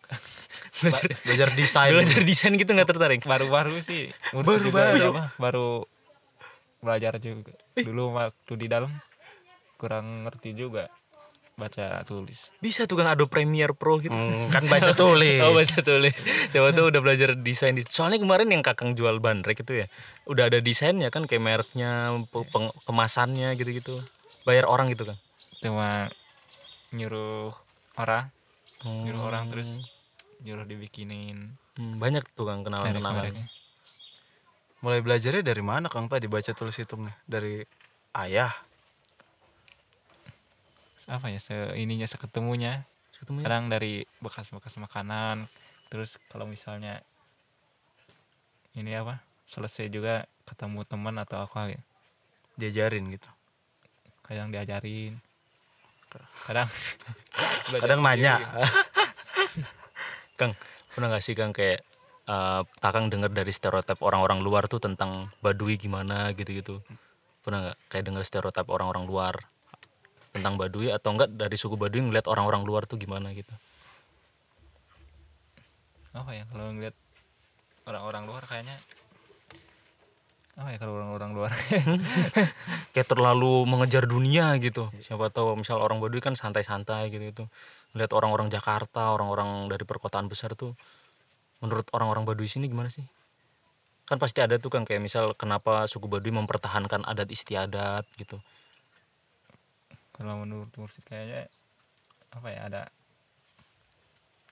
[SPEAKER 1] belajar
[SPEAKER 3] Belajar desain.
[SPEAKER 1] belajar desain gitu nggak tertarik
[SPEAKER 4] baru-baru sih ngurus
[SPEAKER 3] Baru-baru.
[SPEAKER 4] juga ya, Pak. baru belajar juga dulu waktu di dalam kurang ngerti juga baca tulis
[SPEAKER 1] bisa tuh Kang Adobe Premiere Pro gitu
[SPEAKER 3] Hmm, kan baca tulis.
[SPEAKER 1] Oh baca tulis. Coba tuh udah belajar desain. di- Soalnya kemarin yang kakang jual bandrek itu ya, udah ada desainnya kan, kayak mereknya, pe- peng- kemasannya gitu-gitu. Bayar orang gitu kan?
[SPEAKER 4] cuma nyuruh orang nyuruh orang terus nyuruh dibikinin
[SPEAKER 1] Hmm, banyak tuh kang kenalan-kenalan.
[SPEAKER 4] merek-mereknya.
[SPEAKER 3] Mulai belajarnya dari mana Kang tadi baca tulis hitungnya? Dari ayah.
[SPEAKER 4] apa ya se ininya seketemunya
[SPEAKER 1] Ketemunya?
[SPEAKER 4] kadang dari bekas-bekas makanan terus kalau misalnya ini apa selesai juga ketemu teman atau apa gitu.
[SPEAKER 3] Diajarin gitu.
[SPEAKER 4] kadang diajarin kadang belajar
[SPEAKER 3] Kadang nanya.
[SPEAKER 1] Kang, pernah gak sih Kang kayak eh, Kakang dengar dari stereotip orang-orang luar tuh tentang Badui gimana gitu-gitu? Pernah nggak kayak dengar stereotip orang-orang luar tentang Badui atau enggak dari suku Badui ngeliat orang-orang luar tuh gimana gitu?
[SPEAKER 4] apa ya kalau ngeliat orang-orang luar kayaknya apa ya kalau orang-orang luar
[SPEAKER 1] kayak terlalu mengejar dunia gitu. Siapa tahu misal orang Baduy kan santai-santai gitu itu. Lihat orang-orang Jakarta, orang-orang dari perkotaan besar tuh menurut orang-orang Baduy sini gimana sih? Kan pasti ada tuh kan kayak misal kenapa suku Baduy mempertahankan adat istiadat gitu.
[SPEAKER 4] kalau menurut Mursid kayaknya apa ya ada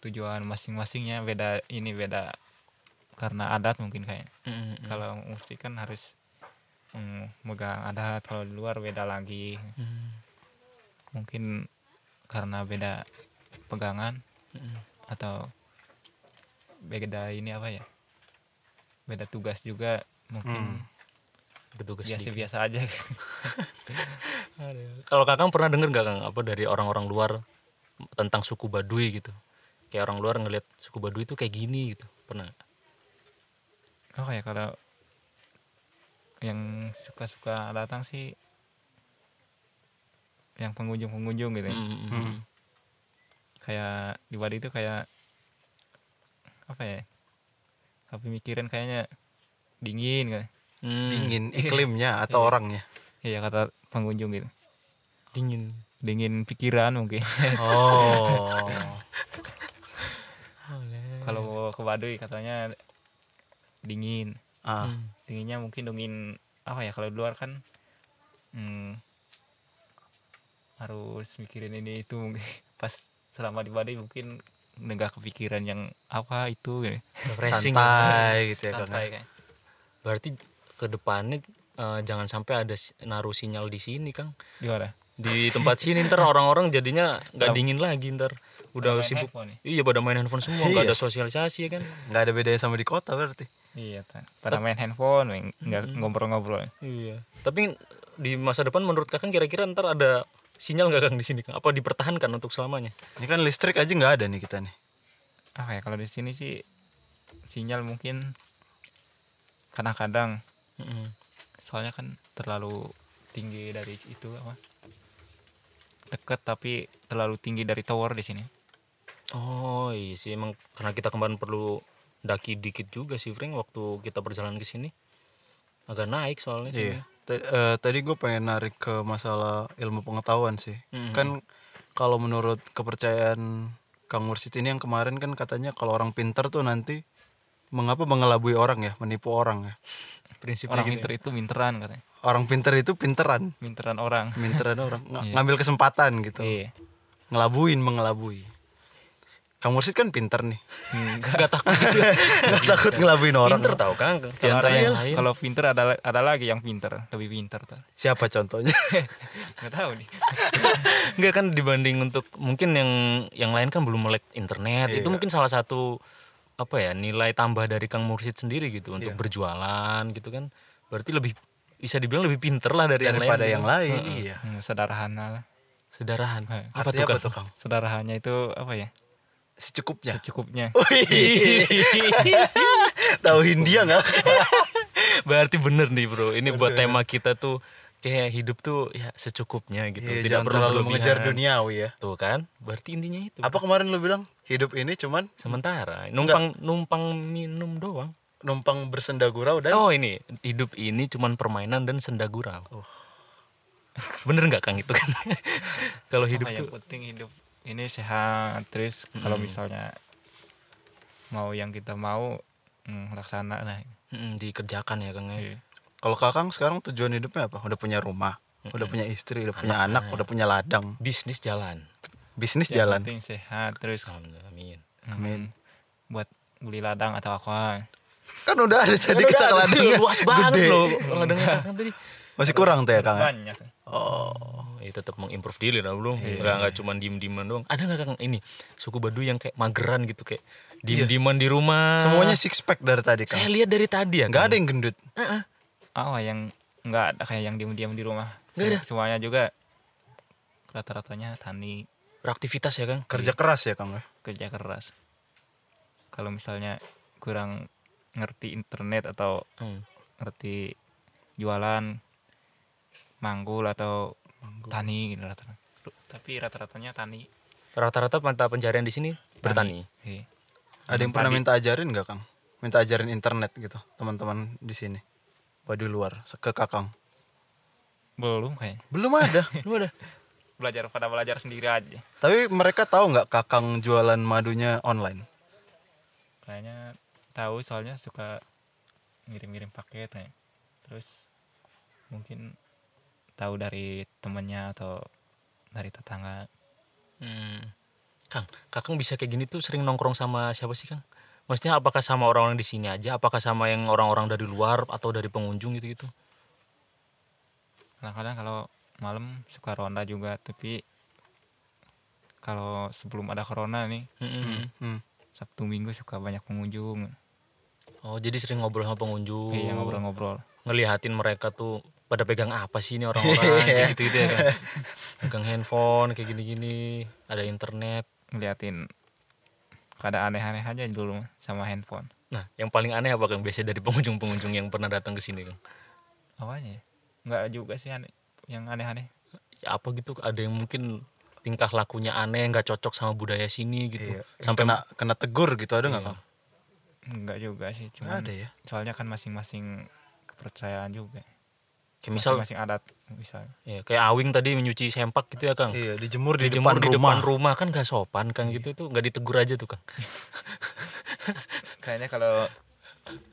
[SPEAKER 4] tujuan masing-masingnya beda ini beda karena adat mungkin kayaknya
[SPEAKER 1] Hmm.
[SPEAKER 4] kalau Mursid kan harus mm, megang adat kalau di luar beda lagi mungkin karena beda pegangan atau beda ini apa ya beda tugas juga mungkin
[SPEAKER 1] Bertugas sedikit.
[SPEAKER 4] biasa-biasa aja
[SPEAKER 1] Kalau Kakang pernah denger nggak Kang apa dari orang-orang luar tentang suku Baduy gitu? Kayak orang luar ngelihat suku Baduy itu kayak gini gitu. Pernah? nggak?
[SPEAKER 4] oh ya kalau yang suka-suka datang sih yang pengunjung-pengunjung gitu ya.
[SPEAKER 1] Mm, mm, mm.
[SPEAKER 4] kayak di Bali itu kayak apa ya tapi mikirin kayaknya dingin kan
[SPEAKER 1] Mm.
[SPEAKER 3] Dingin iklimnya atau orangnya.
[SPEAKER 4] iya kata pengunjung gitu
[SPEAKER 1] Dingin.
[SPEAKER 4] dingin pikiran mungkin
[SPEAKER 3] Oh.
[SPEAKER 4] kalau ke Baduy katanya dingin
[SPEAKER 3] Ah,
[SPEAKER 1] Mm.
[SPEAKER 4] dinginnya mungkin dingin apa ya kalau di luar kan hmm, harus mikirin ini itu mungkin pas selama di Bali mungkin nggak kepikiran yang apa itu gitu.
[SPEAKER 1] Refreshing.
[SPEAKER 3] santai gitu ya Kang.
[SPEAKER 4] santai kan. kayak
[SPEAKER 1] Berarti ke depannya eh, jangan sampai ada si- naruh sinyal di sini, Kang.
[SPEAKER 4] gimana
[SPEAKER 1] Di tempat sini ntar orang-orang jadinya nggak dingin lagi ntar. Udah
[SPEAKER 4] Main
[SPEAKER 1] sibuk.
[SPEAKER 4] handphone ya? nih.
[SPEAKER 1] Iya pada main handphone semua, nggak ada sosialisasi ya kan.
[SPEAKER 3] Nggak ada bedanya sama di kota berarti.
[SPEAKER 4] iya Tan. pada main handphone main- nggak ngobrol-ngobrol
[SPEAKER 1] Iya. Tapi di masa depan menurut Kakang kira-kira ntar ada sinyal nggak Kang di sini? Kang? Apa dipertahankan untuk selamanya?
[SPEAKER 3] Ini kan listrik aja nggak ada nih kita nih.
[SPEAKER 4] apa ya kalau di sini sih sinyal mungkin kadang-kadang
[SPEAKER 1] Mm-mm.
[SPEAKER 4] soalnya kan terlalu tinggi dari itu apa deket tapi terlalu tinggi dari tower di sini
[SPEAKER 1] Oh iya sih emang karena kita kemarin perlu daki dikit juga sih Fring waktu kita berjalan ke sini agak naik soalnya.
[SPEAKER 3] Iya.
[SPEAKER 1] sebenarnya.
[SPEAKER 3] T- eh, tadi gue pengen narik ke masalah ilmu pengetahuan sih.
[SPEAKER 1] Mhm.
[SPEAKER 3] Kan kalau menurut kepercayaan Kang Mursid ini yang kemarin kan katanya kalau orang pinter tuh nanti mengapa mengelabui orang ya, menipu orang ya.
[SPEAKER 1] Prinsipnya
[SPEAKER 4] orang
[SPEAKER 1] gitu
[SPEAKER 4] pinter itu minteran katanya
[SPEAKER 3] Orang pinter itu pinteran,
[SPEAKER 4] minteran orang
[SPEAKER 3] minteran orang ng-
[SPEAKER 1] Iya.
[SPEAKER 3] ngambil kesempatan gitu.
[SPEAKER 4] iya
[SPEAKER 3] Ngelabuin, mengelabui. Kang Mursid kan pinter nih.
[SPEAKER 1] ya. Gak takut
[SPEAKER 3] Gak takut ngelabuin orang.
[SPEAKER 1] pinter tau kan? Di
[SPEAKER 4] kalau
[SPEAKER 1] antara
[SPEAKER 4] ada-
[SPEAKER 1] yang lain.
[SPEAKER 4] kalau pinter ada ada lagi yang pinter lebih pinter tuh
[SPEAKER 3] Siapa contohnya?
[SPEAKER 4] nggak tahu nih
[SPEAKER 1] Enggak kan dibanding untuk mungkin yang yang lain kan belum melek internet
[SPEAKER 3] Iya.
[SPEAKER 1] itu mungkin salah satu apa ya nilai tambah dari Kang Mursid sendiri gitu
[SPEAKER 3] Iya.
[SPEAKER 1] untuk berjualan gitu kan berarti lebih bisa dibilang lebih pinter lah dari
[SPEAKER 3] Daripada
[SPEAKER 1] yang lain.
[SPEAKER 3] yang lain, iya.
[SPEAKER 4] Hmm, sederhana lah
[SPEAKER 1] Sederhan.
[SPEAKER 4] Eh,
[SPEAKER 1] Apa tuh
[SPEAKER 3] Artinya
[SPEAKER 1] Kang?
[SPEAKER 3] Kang?
[SPEAKER 4] sederhananya itu apa ya
[SPEAKER 1] Ya.
[SPEAKER 3] Secukupnya.
[SPEAKER 4] secukupnya
[SPEAKER 1] Oh,
[SPEAKER 3] Tahu Hindia nggak?
[SPEAKER 1] Berarti bener nih bro, ini buat tema kita tuh kayak hidup tuh ya secukupnya gitu,
[SPEAKER 3] Iya,
[SPEAKER 1] tidak
[SPEAKER 3] jangan
[SPEAKER 1] perlu
[SPEAKER 3] terlalu
[SPEAKER 1] berlebihan.
[SPEAKER 3] mengejar Iya. duniawi ya.
[SPEAKER 1] Tuh kan, berarti intinya itu.
[SPEAKER 3] apa kemarin lu bilang hidup ini cuman
[SPEAKER 1] Sementara numpang numpang minum doang.
[SPEAKER 3] numpang bersenda gurau dan
[SPEAKER 1] Oh ini hidup ini cuman permainan dan senda gurau. Bener nggak kang itu kan? Kalau hidup
[SPEAKER 4] Apa
[SPEAKER 1] tuh Hmm.
[SPEAKER 4] yang penting hidup ini sehat terus kalau misalnya mau yang kita mau hmm, laksana nah
[SPEAKER 1] mm, dikerjakan ya kang ya.
[SPEAKER 4] Iya.
[SPEAKER 3] kalau kakang sekarang tujuan hidupnya apa udah punya rumah udah punya istri udah punya anak udah punya ladang
[SPEAKER 1] Bisnis jalan.
[SPEAKER 3] bisnis
[SPEAKER 1] Ya,
[SPEAKER 4] yang
[SPEAKER 3] jalan
[SPEAKER 4] penting sehat terus
[SPEAKER 1] Alhamdulillah, Amin.
[SPEAKER 4] hmm, buat beli ladang atau apa
[SPEAKER 3] kan udah ada tadi
[SPEAKER 1] Udah,
[SPEAKER 3] kecakalan
[SPEAKER 1] udah, luas banget
[SPEAKER 3] gede.
[SPEAKER 1] loh ladangnya Kang tadi.
[SPEAKER 3] masih kurang tuh ya kang ya?
[SPEAKER 4] banyak
[SPEAKER 3] oh
[SPEAKER 1] Oh, ya tetap mengimprove diri lah belum nggak nggak cuma diem dieman doang ada nggak kang ini suku Baduy yang kayak mageran gitu kayak diem dieman di rumah
[SPEAKER 3] semuanya six pack dari tadi
[SPEAKER 1] Ah. saya
[SPEAKER 3] kang
[SPEAKER 1] lihat dari tadi ya
[SPEAKER 3] nggak
[SPEAKER 1] Kang.
[SPEAKER 3] ada yang gendut
[SPEAKER 4] oh yang nggak ada kayak yang diam-diam di rumah semuanya juga rata-ratanya tani
[SPEAKER 1] beraktivitas ya kang
[SPEAKER 3] kerja keras ya kang ya?
[SPEAKER 4] kerja keras kalau misalnya kurang ngerti internet atau
[SPEAKER 1] Hmm.
[SPEAKER 4] ngerti jualan manggul atau tani gitu rata tapi rata-ratanya tani
[SPEAKER 1] rata-rata mata pencarian di sini bertani
[SPEAKER 4] Iya.
[SPEAKER 3] ada yang pernah minta ajarin nggak kang minta ajarin internet gitu teman-teman di sini waduh luar se- ke kakang
[SPEAKER 4] belum kayaknya
[SPEAKER 3] belum ada
[SPEAKER 1] lu ada
[SPEAKER 4] belajar pada belajar sendiri aja
[SPEAKER 3] tapi mereka tahu nggak kakang jualan madunya online
[SPEAKER 4] kayaknya tahu soalnya suka ngirim-ngirim paket ya. terus mungkin tahu dari temennya atau dari tetangga
[SPEAKER 1] Hmm. kang kakang bisa kayak gini tuh sering nongkrong sama siapa sih kang maksudnya apakah sama orang-orang di sini aja apakah sama yang orang-orang dari luar atau dari pengunjung gitu gitu
[SPEAKER 4] kadang-kadang kalau malam suka ronda juga tapi kalau sebelum ada corona nih
[SPEAKER 3] hmm.
[SPEAKER 4] sabtu minggu suka banyak pengunjung
[SPEAKER 1] oh jadi sering ngobrol sama pengunjung
[SPEAKER 4] iya
[SPEAKER 3] Oh.
[SPEAKER 4] ngobrol-ngobrol
[SPEAKER 1] ngelihatin mereka tuh pada pegang apa sih ini
[SPEAKER 3] Iya.
[SPEAKER 1] orang-orang kayak gitu gitu ya kan pegang handphone kayak gini-gini ada internet
[SPEAKER 4] ngeliatin kada aneh-aneh aja dulu mah, sama handphone
[SPEAKER 1] nah yang paling aneh apa kang biasanya dari pengunjung-pengunjung yang pernah datang ke sini kang
[SPEAKER 4] awalnya ya? nggak juga sih aneh yang aneh-aneh
[SPEAKER 1] Ya, apa gitu ada yang mungkin tingkah lakunya aneh nggak cocok sama budaya sini gitu
[SPEAKER 3] Iya.
[SPEAKER 1] sampai
[SPEAKER 3] kena kena tegur gitu ada nggak kang?
[SPEAKER 4] nggak juga sih
[SPEAKER 3] Nggak
[SPEAKER 4] cuman
[SPEAKER 3] ada ya.
[SPEAKER 4] soalnya kan masing-masing kepercayaan juga
[SPEAKER 1] kayak misal
[SPEAKER 4] masing-masing adat misalnya
[SPEAKER 1] ya, kayak awing tadi menyuci sempak gitu ya kang
[SPEAKER 3] Iya, dijemur di
[SPEAKER 1] Dijemur
[SPEAKER 3] depan
[SPEAKER 1] di
[SPEAKER 3] rumah.
[SPEAKER 1] depan rumah kan gak sopan kang gitu itu nggak ditegur aja tuh kang
[SPEAKER 4] kayaknya kalau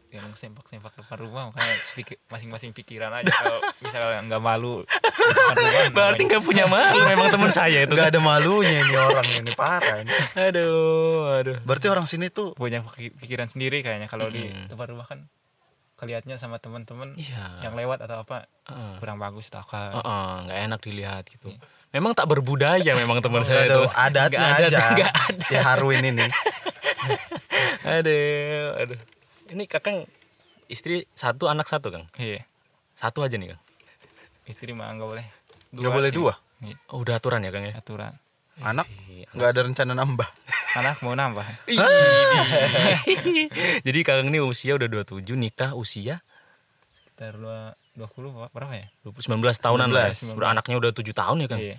[SPEAKER 4] yang sempak-sempak depan rumah makanya pikir- masing-masing pikiran aja kalau misalnya nggak malu di depan rumah,
[SPEAKER 1] berarti nggak punya malu memang teman saya itu
[SPEAKER 3] Nggak ada malunya ini orang ini parah. ini.
[SPEAKER 1] aduh aduh
[SPEAKER 3] Berarti orang sini tuh
[SPEAKER 4] punya piki- pikiran sendiri kayaknya kalau di depan rumah kan kelihatnya sama teman-teman
[SPEAKER 1] Iya.
[SPEAKER 4] yang lewat atau apa
[SPEAKER 1] Heeh.
[SPEAKER 4] kurang bagus atau apa
[SPEAKER 1] Heeh, nggak enak dilihat gitu. Memang tak berbudaya memang teman
[SPEAKER 3] nggak
[SPEAKER 1] saya
[SPEAKER 3] ada
[SPEAKER 1] itu.
[SPEAKER 3] Oh, adatnya
[SPEAKER 1] Nggak ada,
[SPEAKER 3] aja.
[SPEAKER 1] nggak ada.
[SPEAKER 3] Si Harwin ini.
[SPEAKER 1] Aduh, aduh. Ini kakang istri satu anak satu kang.
[SPEAKER 4] iya
[SPEAKER 1] Satu aja nih kang.
[SPEAKER 4] istri mah nggak boleh
[SPEAKER 3] Nggak boleh
[SPEAKER 4] sih.
[SPEAKER 3] dua?
[SPEAKER 4] Iya,
[SPEAKER 1] Oh, udah aturan ya kang ya.
[SPEAKER 4] aturan
[SPEAKER 3] Anak nggak ada rencana nambah.
[SPEAKER 4] anak mau nambah
[SPEAKER 1] Jadi kakang ini usia udah 27 nikah usia
[SPEAKER 4] sekitar dua 20 apa- berapa ya?
[SPEAKER 1] 19 tahunan lah. ya.
[SPEAKER 3] 19.
[SPEAKER 1] Udah anaknya udah tujuh tahun ya kan?
[SPEAKER 4] Iya.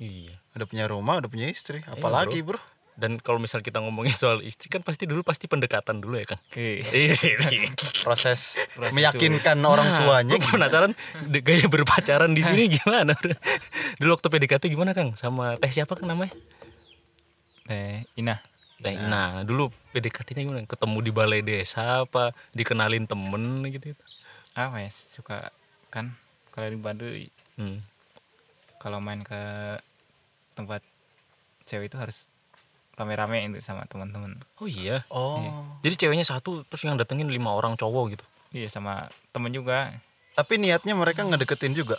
[SPEAKER 1] Iya.
[SPEAKER 3] Udah punya rumah, udah punya istri, apalagi bro.
[SPEAKER 1] Dan kalau misal kita ngomongin soal istri kan pasti dulu pasti pendekatan dulu ya kan?
[SPEAKER 4] Oke.
[SPEAKER 3] Proses meyakinkan orang tuanya
[SPEAKER 1] Gue penasaran de- gaya berpacaran di sini gimana? dulu waktu PDKT gimana Kang? Sama teh siapa kan namanya?
[SPEAKER 4] Teh Eh, Ina.
[SPEAKER 1] Teh Nah dulu PDKT-nya gimana? Ketemu di balai desa apa? Dikenalin temen gitu? -gitu.
[SPEAKER 4] Apa ya? Suka kan kalau di Bandung
[SPEAKER 1] Hmm.
[SPEAKER 4] kalau main ke tempat cewek itu harus rame-rame itu sama teman-teman.
[SPEAKER 1] Oh iya.
[SPEAKER 3] Oh.
[SPEAKER 1] Jadi ceweknya satu terus yang datengin lima orang cowok gitu.
[SPEAKER 4] Iya sama temen juga.
[SPEAKER 3] Tapi niatnya mereka ngedeketin juga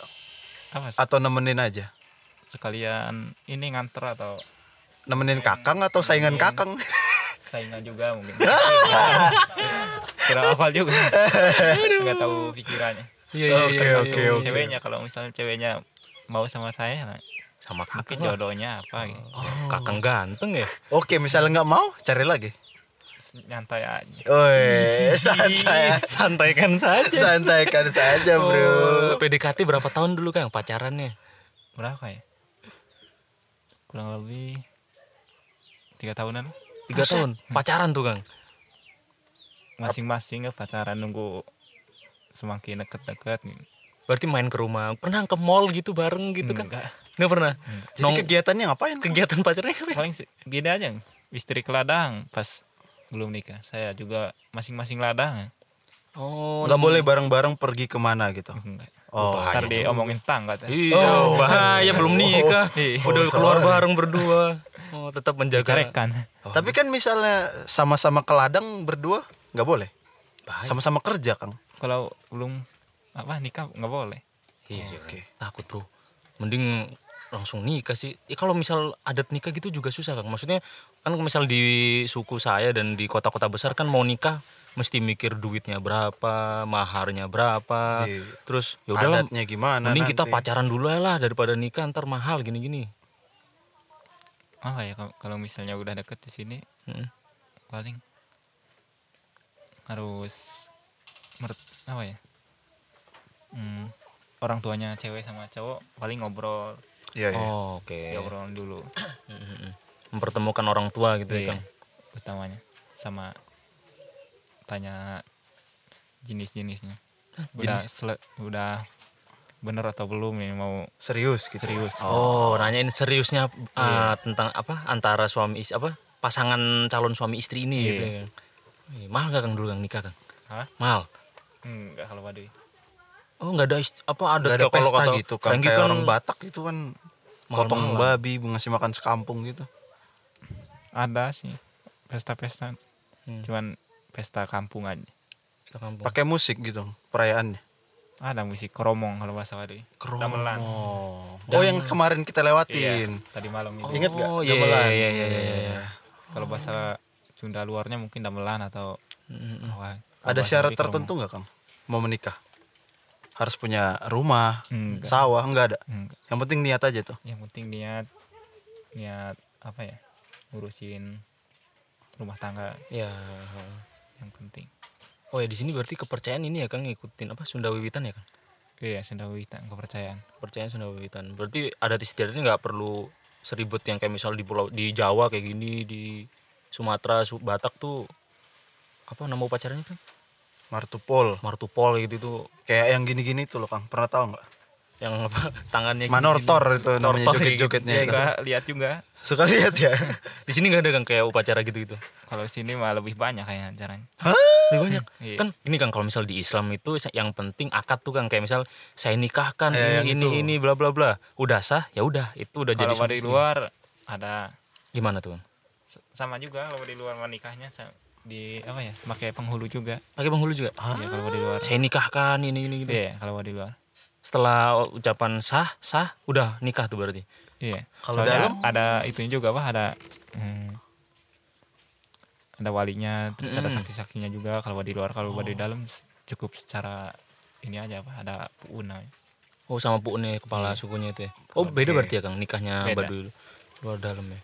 [SPEAKER 4] Apa sih?
[SPEAKER 3] atau nemenin aja.
[SPEAKER 4] sekalian ini nganter atau
[SPEAKER 3] Nemenin kakang atau saingan kakang.
[SPEAKER 4] saingan juga mungkin. Kurang hafal juga. Enggak tahu pikirannya.
[SPEAKER 1] Iya
[SPEAKER 3] Oke oke oke.
[SPEAKER 4] Ceweknya kalau misalnya ceweknya mau sama saya nah,
[SPEAKER 1] Sama kakak.
[SPEAKER 4] mungkin jodohnya apa gitu.
[SPEAKER 1] Oh. Kakang ganteng ya.
[SPEAKER 3] Oke, misalnya nggak mau, cari lagi. Oh.
[SPEAKER 4] Nyantai aja.
[SPEAKER 3] Woi, santai.
[SPEAKER 1] Santaikan saja.
[SPEAKER 3] Santaikan saja, Bro.
[SPEAKER 1] Oh, PDKT berapa tahun dulu Kang pacarannya?
[SPEAKER 4] Berapa ya? Kurang lebih tiga tahunan
[SPEAKER 1] Tiga tahun. Pacaran tuh Kang.
[SPEAKER 4] masing-masing nggak pacaran nunggu semakin deket-deket gitu.
[SPEAKER 1] Berarti main ke rumah. Pernah ke mall gitu bareng gitu kan?
[SPEAKER 4] Enggak.
[SPEAKER 1] Enggak pernah.
[SPEAKER 3] Jadi
[SPEAKER 1] Nong-
[SPEAKER 3] kegiatannya ngapain?
[SPEAKER 1] kegiatan pacarannya apa? ya?
[SPEAKER 4] paling se- gini aja istri ke ladang pas belum nikah saya juga masing-masing ladang
[SPEAKER 1] Oh,
[SPEAKER 3] Nggak boleh bareng-bareng pergi kemana gitu.
[SPEAKER 1] Mhm.
[SPEAKER 4] enggak
[SPEAKER 3] Oh,
[SPEAKER 4] ntar diomongin tang katanya
[SPEAKER 1] Ah, Iya, bahaya belum nikah.
[SPEAKER 4] Oh,
[SPEAKER 1] Udah keluar
[SPEAKER 3] sorry.
[SPEAKER 1] bareng berdua. Oh, tetap menjaga.
[SPEAKER 4] carekan
[SPEAKER 3] tapi kan misalnya sama-sama ke ladang berdua nggak boleh.
[SPEAKER 1] Bahaya.
[SPEAKER 3] Sama-sama kerja, Kang.
[SPEAKER 4] kalau belum apa nikah nggak boleh
[SPEAKER 1] Iya, iya, takut bro. Mending langsung nikah sih. Ya, kalau misal adat nikah gitu juga susah kan. Maksudnya kan misal di suku saya dan di kota-kota besar kan mau nikah mesti mikir duitnya berapa, maharnya berapa.
[SPEAKER 3] Iya.
[SPEAKER 1] Terus ya udahlah.
[SPEAKER 3] Adatnya gimana
[SPEAKER 1] Mending kita
[SPEAKER 3] nanti?
[SPEAKER 1] pacaran dulu aja lah daripada nikah ntar mahal gini-gini.
[SPEAKER 4] apa ya kalau- kalau misalnya udah deket di sini
[SPEAKER 1] Heeh.
[SPEAKER 4] paling harus mer apa ya Hmm, orang tuanya cewek sama cowok paling ngobrol
[SPEAKER 3] Iya, iya.
[SPEAKER 1] Oh, oke.
[SPEAKER 4] ngobrol dulu
[SPEAKER 1] Mm-mm. Mempertemukan orang tua gitu ya,
[SPEAKER 4] Iya,
[SPEAKER 1] Kang.
[SPEAKER 4] utamanya sama tanya jenis-jenisnya udah sele- udah bener atau belum nih mau
[SPEAKER 3] Serius gitu.
[SPEAKER 4] serius
[SPEAKER 1] Oh, nanyain seriusnya uh,
[SPEAKER 3] Iya.
[SPEAKER 1] tentang apa antara suami istri apa pasangan calon suami istri
[SPEAKER 3] Iya.
[SPEAKER 1] ini gitu. ya. Ih, Mahal gak kang dulu kang nikah kang?
[SPEAKER 4] Hah?
[SPEAKER 1] Mahal?
[SPEAKER 4] enggak kalau waduh
[SPEAKER 1] Oh nggak ada ist- apa ada,
[SPEAKER 3] Gak ada
[SPEAKER 1] kayak kalau
[SPEAKER 3] pesta
[SPEAKER 1] kata
[SPEAKER 3] gitu kan
[SPEAKER 1] Franky
[SPEAKER 3] kayak
[SPEAKER 1] kan
[SPEAKER 3] orang Batak itu kan potong babi ngasih makan sekampung gitu.
[SPEAKER 4] ada sih pesta-pesta cuman pesta kampung aja
[SPEAKER 1] Pesta kampung.
[SPEAKER 3] Pakai musik gitu perayaannya.
[SPEAKER 4] ada musik kromong kalau bahasa waduh Gamelan.
[SPEAKER 3] Oh. Oh, yang kemarin kita lewatin.
[SPEAKER 4] Iya, tadi malam itu
[SPEAKER 3] Ingat gak?
[SPEAKER 1] Oh iya iya
[SPEAKER 3] Gamelan.
[SPEAKER 1] iya iya. iya, iya.
[SPEAKER 4] kalau bahasa Sunda luarnya mungkin damelan atau apa, kalau
[SPEAKER 3] Hmm. Ada
[SPEAKER 4] bahasa
[SPEAKER 3] syarat
[SPEAKER 4] Bali kromong.
[SPEAKER 3] tertentu nggak Kang? Mau menikah? Harus punya rumah,
[SPEAKER 4] Enggak.
[SPEAKER 3] sawah, enggak ada.
[SPEAKER 4] Enggak.
[SPEAKER 3] Yang penting niat aja tuh.
[SPEAKER 4] yang penting niat niat apa ya ngurusin rumah tangga
[SPEAKER 1] Ya.
[SPEAKER 4] yang penting
[SPEAKER 1] Oh ya di sini berarti kepercayaan ini ya kang ngikutin apa Sunda Wiwitan ya kang?
[SPEAKER 4] iya Sunda Wiwitan kepercayaan
[SPEAKER 1] Kepercayaan Sunda Wiwitan. Berarti adat istiadatnya nggak perlu seribet yang kayak misal di pulau di Jawa kayak gini di Sumatera, Su- Batak tuh apa nama upacaranya kan?
[SPEAKER 3] Martupol.
[SPEAKER 1] Martupol gitu tuh
[SPEAKER 3] Kayak yang gini-gini tuh loh Kang. Pernah tahu nggak?
[SPEAKER 1] yang apa tangannya gitu. gini.
[SPEAKER 3] Manortor itu namanya
[SPEAKER 1] Tortor kayak
[SPEAKER 3] joget-jogetnya.
[SPEAKER 4] Saya
[SPEAKER 3] itu.
[SPEAKER 4] juga lihat juga
[SPEAKER 3] Suka lihat ya.
[SPEAKER 1] di sini nggak ada kang kayak upacara gitu gitu
[SPEAKER 4] kalau sini malah lebih banyak kayaknya caranya
[SPEAKER 1] lebih banyak
[SPEAKER 4] Iya.
[SPEAKER 1] kan ini kang kalau misal di Islam itu sa- yang penting akad tuh kang kayak misal saya nikahkan
[SPEAKER 3] Eh, yang
[SPEAKER 1] ini ini
[SPEAKER 3] itu.
[SPEAKER 1] ini bla bla bla udah sah ya udah itu udah jadi
[SPEAKER 4] Iya, kalau
[SPEAKER 1] suami
[SPEAKER 4] dari
[SPEAKER 1] istri.
[SPEAKER 4] luar ada
[SPEAKER 1] gimana tuh Kang?
[SPEAKER 4] S- sama juga kalau di luar menikahnya sa- di apa ya pakai penghulu juga
[SPEAKER 1] pakai penghulu juga "Ah,
[SPEAKER 4] Iya, kalau di luar
[SPEAKER 1] saya nikahkan ini ini
[SPEAKER 3] Ah.
[SPEAKER 1] gitu
[SPEAKER 4] iya kalau di luar
[SPEAKER 1] setelah ucapan sah sah udah nikah tuh berarti
[SPEAKER 4] iya
[SPEAKER 3] Kalau dalam?
[SPEAKER 4] Soalnya ada itunya juga apa ada hmm, ada walinya terus ada saksi-saksinya juga kalau di luar kalau
[SPEAKER 3] Oh.
[SPEAKER 4] di dalam s- cukup secara ini aja apa ada puuna
[SPEAKER 1] oh sama pu'ne
[SPEAKER 3] Hmm.
[SPEAKER 1] kepala sukunya itu ya oh beda berarti ya kang nikahnya
[SPEAKER 4] Beda.
[SPEAKER 1] baduy luar dalam ya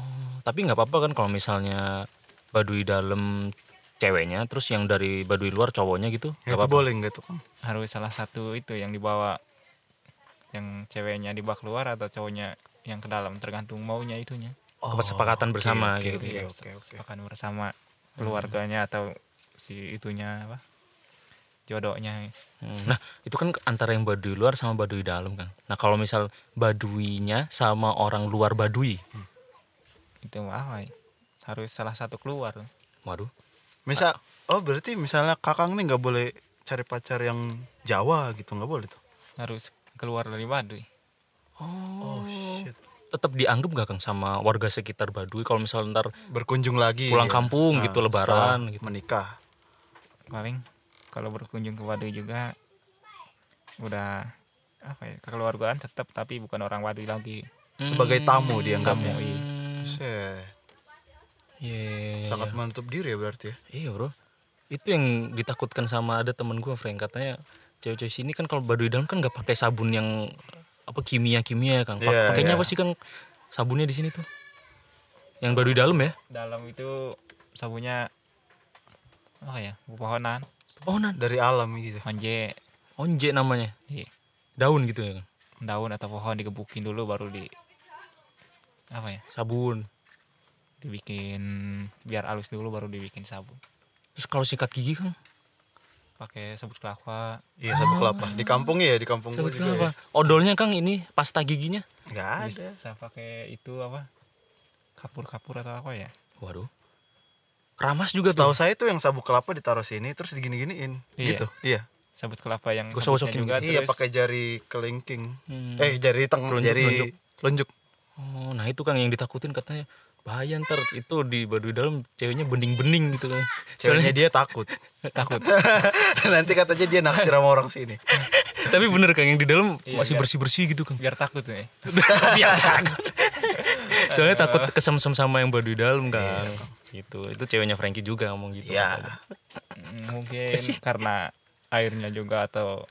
[SPEAKER 1] oh tapi nggak apa-apa kan kalau misalnya baduy dalam ceweknya terus yang dari Baduy luar cowoknya gitu nggak
[SPEAKER 3] Ya, itu
[SPEAKER 1] apa-apa
[SPEAKER 3] boleh nggak tuh kang
[SPEAKER 4] harus salah satu itu yang dibawa yang ceweknya dibawa keluar atau cowoknya yang ke dalam tergantung maunya itunya
[SPEAKER 1] kesepakatan bersama
[SPEAKER 3] Oh, oke,
[SPEAKER 1] gitu
[SPEAKER 3] oke,
[SPEAKER 1] ya.
[SPEAKER 3] Iya, oke, Hmm. oke.
[SPEAKER 4] makan bersama keluarganya atau si itunya apa jodohnya
[SPEAKER 1] Hmm, nah itu kan antara yang Baduy luar sama Baduy dalam kan nah kalau misal Baduinya sama orang luar Baduy
[SPEAKER 4] itu apa ya? harus salah satu keluar
[SPEAKER 1] waduh
[SPEAKER 3] misal oh berarti misalnya kakang nih nggak boleh cari pacar yang Jawa gitu nggak boleh tuh
[SPEAKER 4] harus keluar dari Baduy
[SPEAKER 3] oh shit
[SPEAKER 1] tetap dianggap gak kang sama warga sekitar Baduy kalau misal ntar
[SPEAKER 3] berkunjung lagi Ah,
[SPEAKER 1] Pulang kampung gitu, lebaran
[SPEAKER 3] setelah
[SPEAKER 1] gitu.
[SPEAKER 3] menikah
[SPEAKER 4] paling kalau berkunjung ke Baduy juga udah apa ya kekeluargaan tetap tapi bukan orang Baduy lagi
[SPEAKER 3] sebagai tamu dianggapnya
[SPEAKER 4] Tamu, iya.
[SPEAKER 1] hmm,
[SPEAKER 3] Shit,
[SPEAKER 1] Iya, iya,
[SPEAKER 3] sangat menutup diri ya berarti ya
[SPEAKER 1] Iya bro, itu yang ditakutkan sama ada temen gue, Frank katanya cewek-cewek sini kan kalau baduy dalam kan nggak pakai sabun yang apa kimia kimia kan, Pak-
[SPEAKER 3] Iya,
[SPEAKER 1] pakainya
[SPEAKER 3] iya.
[SPEAKER 1] apa sih kan sabunnya di sini tuh, yang baduy dalam ya?
[SPEAKER 4] dalam itu sabunnya apa ya pepohonan
[SPEAKER 1] Oh nan,
[SPEAKER 3] dari alam gitu
[SPEAKER 4] honje
[SPEAKER 1] onje namanya,
[SPEAKER 4] di
[SPEAKER 1] daun gitu ya kan,
[SPEAKER 4] daun atau pohon digebukin dulu baru di apa ya
[SPEAKER 1] sabun.
[SPEAKER 4] dibikin biar halus dulu baru dibikin sabun
[SPEAKER 1] Terus kalau sikat gigi kan,
[SPEAKER 4] pakai sabut kelapa
[SPEAKER 3] iya sabuk kelapa di kampung ya di kampung gua
[SPEAKER 1] Sabun
[SPEAKER 3] juga
[SPEAKER 1] Ah. kelapa. Odolnya kang ini pasta giginya.
[SPEAKER 3] ya. nggak ada
[SPEAKER 4] bisa pakai itu apa kapur-kapur atau apa ya
[SPEAKER 1] Waduh, ramas juga
[SPEAKER 3] Setahu
[SPEAKER 1] tuh.
[SPEAKER 3] saya tuh yang sabuk kelapa ditaruh sini terus digini-giniin
[SPEAKER 4] Iya.
[SPEAKER 3] gitu. Iya.
[SPEAKER 4] sabut kelapa yang
[SPEAKER 1] Gosok-gosokin
[SPEAKER 4] sabutnya juga
[SPEAKER 3] Iya
[SPEAKER 4] terus
[SPEAKER 3] pakai jari kelingking.
[SPEAKER 1] Nah, Hmm.
[SPEAKER 3] Eh jari tengah
[SPEAKER 1] Telunjuk,
[SPEAKER 3] jari
[SPEAKER 1] telunjuk.
[SPEAKER 3] telunjuk.
[SPEAKER 1] Oh, nah itu kang yang ditakutin katanya bahaya ntar itu di baduy dalam ceweknya bening-bening gitu kan.
[SPEAKER 3] Ceweknya dia takut.
[SPEAKER 4] takut
[SPEAKER 3] Nanti katanya dia naksir sama orang sini.
[SPEAKER 1] Tapi bener Kang yang di dalam
[SPEAKER 4] Iya,
[SPEAKER 1] masih
[SPEAKER 4] iya.
[SPEAKER 1] bersih-bersih gitu Kang.
[SPEAKER 4] biar takut nih
[SPEAKER 1] Biar takut. Soalnya takut kesemsem sama yang baduy
[SPEAKER 3] Iya,
[SPEAKER 1] dalam Kang. Gitu. Itu ceweknya Frankie juga ngomong gitu.
[SPEAKER 3] Ya.
[SPEAKER 4] Mm, mungkin karena airnya juga atau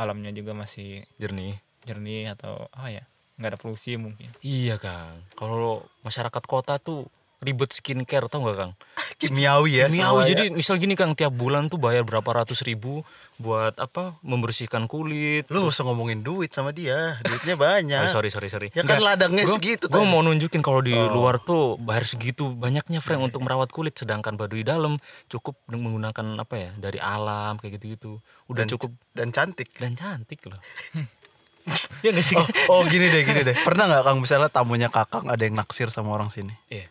[SPEAKER 4] alamnya juga masih
[SPEAKER 1] Jernih.
[SPEAKER 4] jernih atau apa ya nggak ada polusi mungkin
[SPEAKER 1] Iya Kang. Kalau masyarakat kota tuh ribet skincare tau gak Kang?
[SPEAKER 3] Kimiawi ya.
[SPEAKER 1] Miau
[SPEAKER 3] semua ya.
[SPEAKER 1] jadi misal gini Kang tiap bulan tuh bayar berapa ratus ribu buat apa membersihkan kulit.
[SPEAKER 3] lu gak usah ngomongin duit sama dia. Duitnya banyak.
[SPEAKER 1] Oh, sorry sorry sorry.
[SPEAKER 3] Ya kan ladangnya
[SPEAKER 1] Gue
[SPEAKER 3] segitu tadi. Oh.
[SPEAKER 1] mau nunjukin kalau di luar tuh bayar segitu banyaknya Frank untuk merawat kulit, sedangkan baduy dalam cukup menggunakan apa ya dari alam kayak gitu-gitu. Udah
[SPEAKER 3] dan,
[SPEAKER 1] cukup
[SPEAKER 3] dan cantik.
[SPEAKER 1] dan cantik loh. ya gak sih?
[SPEAKER 3] Oh, oh gini deh, gini deh. Pernah nggak Kang misalnya tamunya Kakang ada yang naksir sama orang sini?
[SPEAKER 1] Iya.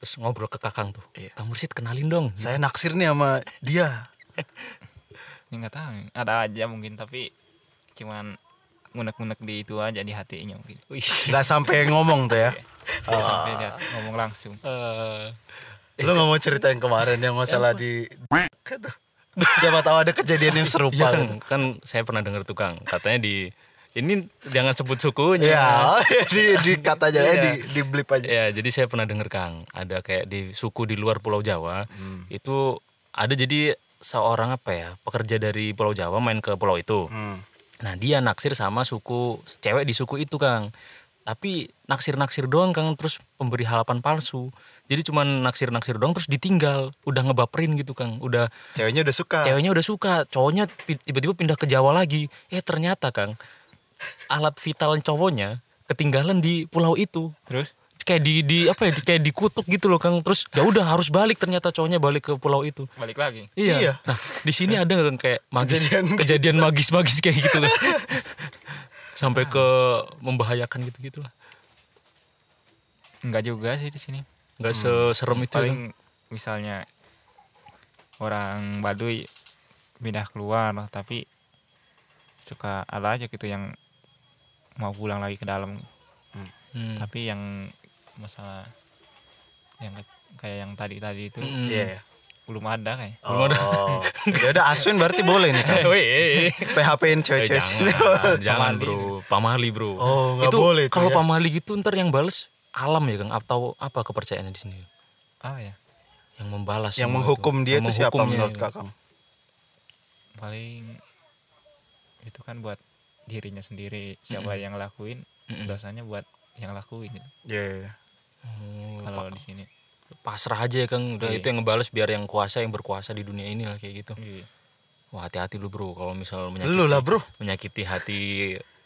[SPEAKER 1] Terus ngobrol ke kakang tuh.
[SPEAKER 3] Iya.
[SPEAKER 1] Kang Mursid kenalin dong.
[SPEAKER 3] Saya naksir nih sama dia.
[SPEAKER 4] ini nggak tahu nih. ada aja mungkin tapi cuman ngunek-ngunek di itu aja di hatinya mungkin
[SPEAKER 1] Wih.
[SPEAKER 3] Gak sampai ngomong tuh ya.
[SPEAKER 4] Dia sampai dia ngomong langsung
[SPEAKER 1] Eh,
[SPEAKER 3] Lu gak mau cerita yang kemarin yang masalah di Tuh. Siapa tahu ada kejadian yang
[SPEAKER 1] iya
[SPEAKER 3] serupa.
[SPEAKER 1] kan,
[SPEAKER 3] gitu.
[SPEAKER 1] kan saya pernah dengar tuh Kang, katanya di ini jangan sebut sukunya.
[SPEAKER 3] Iya, di, di kata aja, eh, di, di blip aja.
[SPEAKER 1] Ya, jadi saya pernah dengar Kang, ada kayak di suku di luar Pulau Jawa, itu ada jadi seorang apa ya, pekerja dari Pulau Jawa main ke pulau itu.
[SPEAKER 3] Hmm.
[SPEAKER 1] Nah, dia naksir sama suku cewek di suku itu, Kang. Tapi naksir-naksir doang, Kang, terus pemberi harapan palsu. Jadi cuman naksir-naksir doang terus ditinggal, udah ngebaperin gitu, Kang. Udah
[SPEAKER 3] Ceweknya udah suka.
[SPEAKER 1] ceweknya udah suka, cowoknya pi- tiba-tiba pindah ke Jawa lagi. Eh, ternyata, Kang, alat vital cowoknya ketinggalan di pulau itu
[SPEAKER 4] terus
[SPEAKER 1] kayak di di apa ya di- kayak dikutuk gitu loh Kang terus ya udah harus balik ternyata cowoknya balik ke pulau itu
[SPEAKER 4] balik lagi
[SPEAKER 3] Iya.
[SPEAKER 1] nah di sini ada nggak Kang, kayak magis
[SPEAKER 3] Kejadian
[SPEAKER 1] kejadian, magis-magis kayak gitu kan sampai ke
[SPEAKER 3] Nah.
[SPEAKER 1] membahayakan gitu gitu lah
[SPEAKER 4] nggak juga sih di sini
[SPEAKER 1] nggak
[SPEAKER 3] Hmm.
[SPEAKER 1] seserem itu ya, Kang.
[SPEAKER 4] paling misalnya orang Baduy pindah keluar tapi suka ada aja gitu yang mau pulang lagi ke dalam
[SPEAKER 1] Hmm.
[SPEAKER 4] tapi yang masalah yang ke- kayak yang tadi tadi itu
[SPEAKER 1] Mm-mm.
[SPEAKER 3] Iya.
[SPEAKER 4] belum ada kayak
[SPEAKER 3] Oh. ya udah Aswin berarti boleh nih. Kang.
[SPEAKER 1] Woi, eh, eh. Eh,
[SPEAKER 3] PHP-in cewek-cewek sini.
[SPEAKER 1] jangan, jangan bro pamali bro
[SPEAKER 3] Oh, nggak
[SPEAKER 1] itu
[SPEAKER 3] boleh itu
[SPEAKER 1] kalau
[SPEAKER 3] ya.
[SPEAKER 1] pamali gitu ntar yang bales alam ya kang atau apa kepercayaannya di sini
[SPEAKER 4] ah ya
[SPEAKER 1] yang membalas
[SPEAKER 3] Yang
[SPEAKER 1] semua
[SPEAKER 3] menghukum dia
[SPEAKER 1] Yang
[SPEAKER 3] itu siapa
[SPEAKER 1] menghukumnya,
[SPEAKER 3] menurut
[SPEAKER 1] ya.
[SPEAKER 3] Kakang?
[SPEAKER 4] paling itu kan buat dirinya sendiri siapa yang lakuin
[SPEAKER 1] Mm-mm.
[SPEAKER 4] dosanya buat yang lakuin gitu.
[SPEAKER 3] Iya. iya, iya.
[SPEAKER 1] Oh,
[SPEAKER 4] kalau di sini
[SPEAKER 1] pasrah aja ya Kang udah itu yang ngebales biar yang kuasa yang berkuasa di dunia ini lah kayak gitu
[SPEAKER 4] Iya.
[SPEAKER 1] wah hati-hati lu bro kalau misal menyakiti
[SPEAKER 3] Lu lah bro.
[SPEAKER 1] menyakiti hati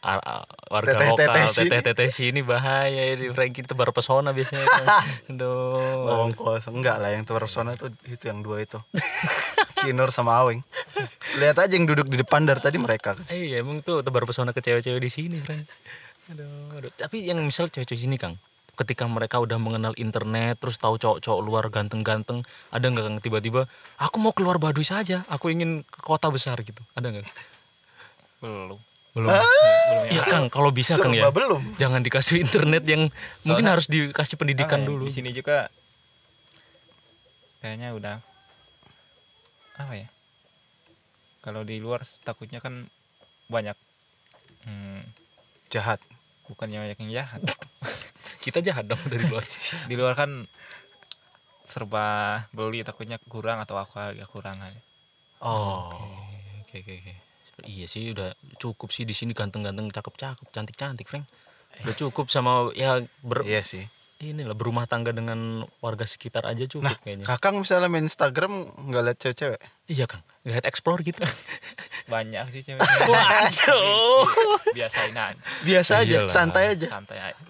[SPEAKER 1] ar- ar- warga
[SPEAKER 3] Teteh-teteh
[SPEAKER 1] lokal
[SPEAKER 3] sini.
[SPEAKER 1] teteh-teteh sini bahaya ini Frankie tebar pesona biasanya Kang. Aduh.
[SPEAKER 3] Lawang kosong enggak lah yang terpesona tuh itu yang dua itu. Kinur sama Aweng. Lihat aja yang duduk di depan dari tadi mereka.
[SPEAKER 1] Eh, Iya emang tuh tebar pesona ke cewek-cewek di sini, Frank. Aduh, aduh. Tapi yang misal cewek-cewek sini, Kang, ketika mereka udah mengenal internet, terus tahu cowok-cowok luar ganteng-ganteng, ada nggak Kang tiba-tiba, aku mau keluar Baduy saja, aku ingin ke kota besar gitu, ada nggak?
[SPEAKER 4] belum
[SPEAKER 1] Belum. Iya Kang, kalau bisa Kang ya.
[SPEAKER 3] Ya, Serba belum.
[SPEAKER 1] Jangan dikasih internet yang mungkin harus dikasih pendidikan
[SPEAKER 4] Apa ya,
[SPEAKER 1] dulu.
[SPEAKER 4] di sini juga kayaknya udah apa ya kalau di luar takutnya kan banyak hmm,
[SPEAKER 3] Jahat.
[SPEAKER 4] bukannya banyak yang jahat
[SPEAKER 1] Kita jahat dong dari luar.
[SPEAKER 4] di luar kan serba beli takutnya kurang atau aku agak kurang aja.
[SPEAKER 3] Oh.
[SPEAKER 1] Oke, oke, oke. Iya sih udah cukup sih di sini ganteng-ganteng, cakep-cakep, cantik-cantik, Frank. Udah cukup sama ya ber,
[SPEAKER 3] Iya sih.
[SPEAKER 1] inilah berumah tangga dengan warga sekitar aja cukup
[SPEAKER 3] Nah,
[SPEAKER 1] kayaknya.
[SPEAKER 3] Kakang misalnya main Instagram nggak lihat cewek-cewek.
[SPEAKER 1] Iya Kang, lihat explore gitu.
[SPEAKER 4] banyak sih ceweknya
[SPEAKER 1] Waduh.
[SPEAKER 4] gitu. biasain aja
[SPEAKER 3] Biasa aja,
[SPEAKER 1] Iyalah.
[SPEAKER 3] santai aja.
[SPEAKER 4] santai aja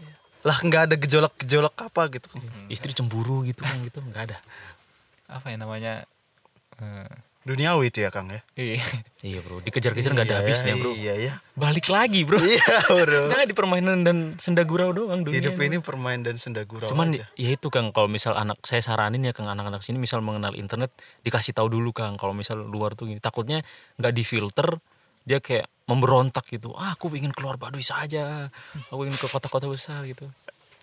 [SPEAKER 3] Lah nggak ada gejolak-gejolak apa gitu.
[SPEAKER 1] Istri cemburu gitu kan gitu nggak ada.
[SPEAKER 4] apa ya namanya eh,
[SPEAKER 3] Duniawi itu ya Kang ya.
[SPEAKER 4] iya
[SPEAKER 1] Iya bro, dikejar-kejar nggak ada
[SPEAKER 3] Iya,
[SPEAKER 1] habisnya bro.
[SPEAKER 3] Iya ya.
[SPEAKER 1] Balik lagi bro.
[SPEAKER 3] Iya bro.
[SPEAKER 1] Jangan di permainan dan senda gurau doang dunia.
[SPEAKER 3] Hidup ini permain dan senda gurau
[SPEAKER 1] iya, Cuman
[SPEAKER 3] aja.
[SPEAKER 1] ya itu Kang, kalau misal anak saya saranin ya Kang anak-anak sini misal mengenal internet dikasih tahu dulu Kang kalau misal luar tuh gini. Takutnya nggak difilter dia kayak memberontak gitu. Ah, aku ingin keluar Baduy saja. Aku ingin ke kota-kota besar gitu.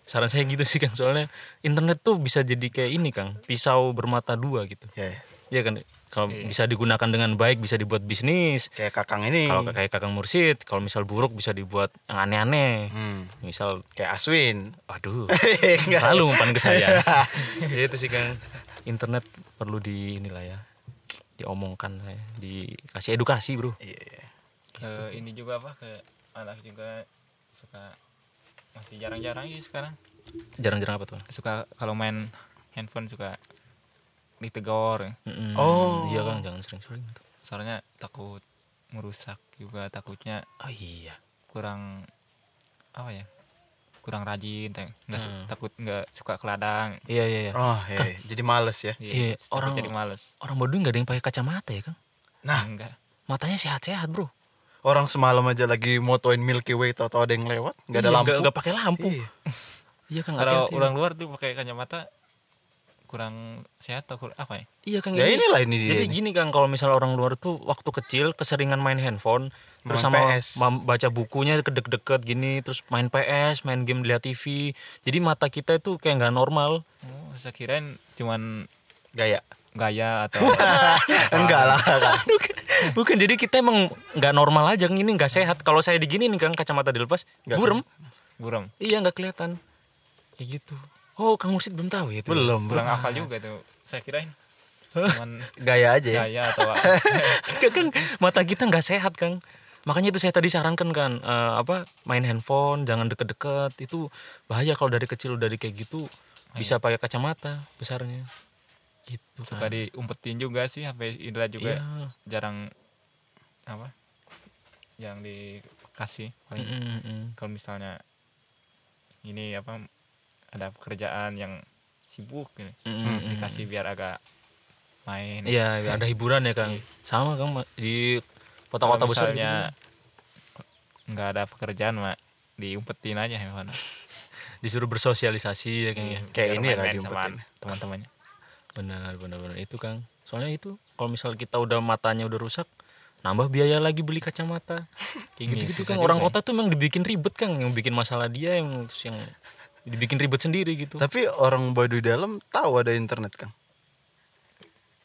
[SPEAKER 1] Saran saya gitu sih Kang, soalnya internet tuh bisa jadi kayak ini Kang, pisau bermata dua gitu.
[SPEAKER 3] Ya, ya.
[SPEAKER 1] Iya kan? Kalau bisa digunakan dengan baik bisa dibuat bisnis.
[SPEAKER 3] kayak Kakang ini.
[SPEAKER 1] Kalau kayak Kakang Mursid, kalau misal buruk bisa dibuat yang aneh-aneh.
[SPEAKER 3] Hmm,
[SPEAKER 1] Misal
[SPEAKER 3] kayak Aswin.
[SPEAKER 1] Waduh,
[SPEAKER 3] Enggak.
[SPEAKER 1] selalu umpan ke saya. Ya itu sih Kang. Internet perlu di inilah ya, diomongkan, lah ya. dikasih edukasi bro.
[SPEAKER 3] Iya, iya.
[SPEAKER 4] ke ini juga apa ke anak juga suka masih jarang-jarang sih sekarang
[SPEAKER 1] Jarang-jarang apa tuh?
[SPEAKER 4] suka kalau main handphone suka ditegor
[SPEAKER 1] Mm-mm.
[SPEAKER 3] Oh.
[SPEAKER 1] iya Kang, jangan sering-sering. tuh.
[SPEAKER 4] soalnya takut merusak juga takutnya
[SPEAKER 1] Oh iya,
[SPEAKER 4] kurang apa ya kurang rajin tak- nggak su-
[SPEAKER 1] Hmm.
[SPEAKER 4] takut nggak suka ke ladang
[SPEAKER 1] iya iya. iya.
[SPEAKER 3] Oh, iya, iya. jadi males ya.
[SPEAKER 1] Iya,
[SPEAKER 4] takut
[SPEAKER 1] orang-
[SPEAKER 4] jadi males
[SPEAKER 1] Orang Baduy nggak ada yang pakai kacamata ya Kang?
[SPEAKER 3] Nah,
[SPEAKER 4] enggak
[SPEAKER 1] Matanya sehat-sehat bro.
[SPEAKER 3] orang semalam aja lagi motoin Milky Way atau ada yang lewat, nggak ada
[SPEAKER 1] Iya,
[SPEAKER 3] lampu.
[SPEAKER 1] Nggak pakai lampu.
[SPEAKER 3] Iya.
[SPEAKER 1] Iya Kang.
[SPEAKER 4] kalau
[SPEAKER 1] hati-hati.
[SPEAKER 4] orang luar tuh pakai kacamata kurang sehat atau kurang apa ya
[SPEAKER 1] Iya Kang.
[SPEAKER 3] Ya
[SPEAKER 1] ini-
[SPEAKER 3] inilah ini dia.
[SPEAKER 1] Jadi
[SPEAKER 3] ini.
[SPEAKER 1] gini Kang, kalau misal orang luar tuh waktu kecil keseringan main handphone, terus
[SPEAKER 3] Main
[SPEAKER 1] sama
[SPEAKER 3] PS.
[SPEAKER 1] mam- baca bukunya kedek-deket gini, terus main PS, main game lihat TV. Jadi mata kita itu kayak nggak normal.
[SPEAKER 4] oh, saya kirain cuman
[SPEAKER 3] Gaya.
[SPEAKER 4] gaya atau
[SPEAKER 3] Enggak
[SPEAKER 1] Ah.
[SPEAKER 3] lah. kan. Kak.
[SPEAKER 1] Bukan, jadi kita emang nggak normal aja, ini nggak sehat. Kalau saya digini nih Kang, kacamata dilepas,
[SPEAKER 3] Nggak
[SPEAKER 1] burem.
[SPEAKER 4] buram
[SPEAKER 1] Iya nggak kelihatan. Kayak gitu. Oh, Kang Mursid belum tahu ya itu.
[SPEAKER 3] Belum, bro.
[SPEAKER 4] kurang hafal juga tuh saya kirain cuman
[SPEAKER 3] Gaya aja ya.
[SPEAKER 4] gaya atau
[SPEAKER 1] Nggak, Kang, mata kita nggak sehat Kang. Makanya itu saya tadi sarankan kan eh, apa main handphone jangan deket-deket itu bahaya kalau dari kecil udah di kayak gitu
[SPEAKER 4] Iya.
[SPEAKER 1] bisa pakai kacamata besarnya. Gitu
[SPEAKER 4] suka
[SPEAKER 1] kan.
[SPEAKER 4] diumpetin juga sih HP Indra juga ya.
[SPEAKER 1] Iya.
[SPEAKER 4] jarang apa yang dikasih paling
[SPEAKER 1] Mm, mm, mm.
[SPEAKER 4] kalau misalnya ini apa ada pekerjaan yang sibuk ini
[SPEAKER 1] Mm, mm.
[SPEAKER 4] dikasih biar agak main
[SPEAKER 1] Iya ada hiburan ya Kang. Sama Kang Ma. di
[SPEAKER 4] Kalau
[SPEAKER 1] kota-kota besar gitu.
[SPEAKER 4] misalnya nggak ada pekerjaan mak diumpetin aja handphone
[SPEAKER 1] disuruh bersosialisasi ya Kang ya.
[SPEAKER 3] Kayak
[SPEAKER 4] Biar
[SPEAKER 3] ini lah
[SPEAKER 4] main-main sama
[SPEAKER 3] diumpetin.
[SPEAKER 4] teman-temannya
[SPEAKER 1] Benar benar benar itu Kang. Soalnya itu kalau misal kita udah matanya udah rusak nambah biaya lagi beli kacamata. Kayak
[SPEAKER 4] Iya,
[SPEAKER 1] gitu-gitu
[SPEAKER 4] susah
[SPEAKER 1] Kang.
[SPEAKER 4] juga
[SPEAKER 1] Orang
[SPEAKER 4] ya.
[SPEAKER 1] kota tuh memang dibikin ribet Kang, yang bikin masalah dia yang terus yang dibikin ribet sendiri gitu.
[SPEAKER 3] Tapi orang Baduy dalam tahu ada internet, Kang.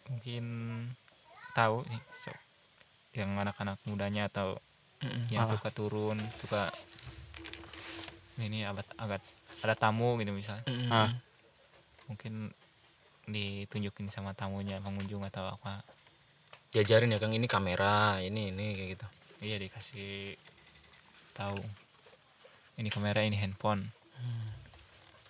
[SPEAKER 4] mungkin tahu nih so- yang anak-anak mudanya atau
[SPEAKER 1] Mm-mm.
[SPEAKER 4] yang suka turun suka ini abad agak ada tamu gitu misalnya
[SPEAKER 1] Mm-mm.
[SPEAKER 3] Ah.
[SPEAKER 4] mungkin ditunjukin sama tamunya pengunjung atau apa
[SPEAKER 1] Diajarin ya Kang ini kamera, ini ini kayak gitu.
[SPEAKER 4] iya dikasih tahu ini kamera ini handphone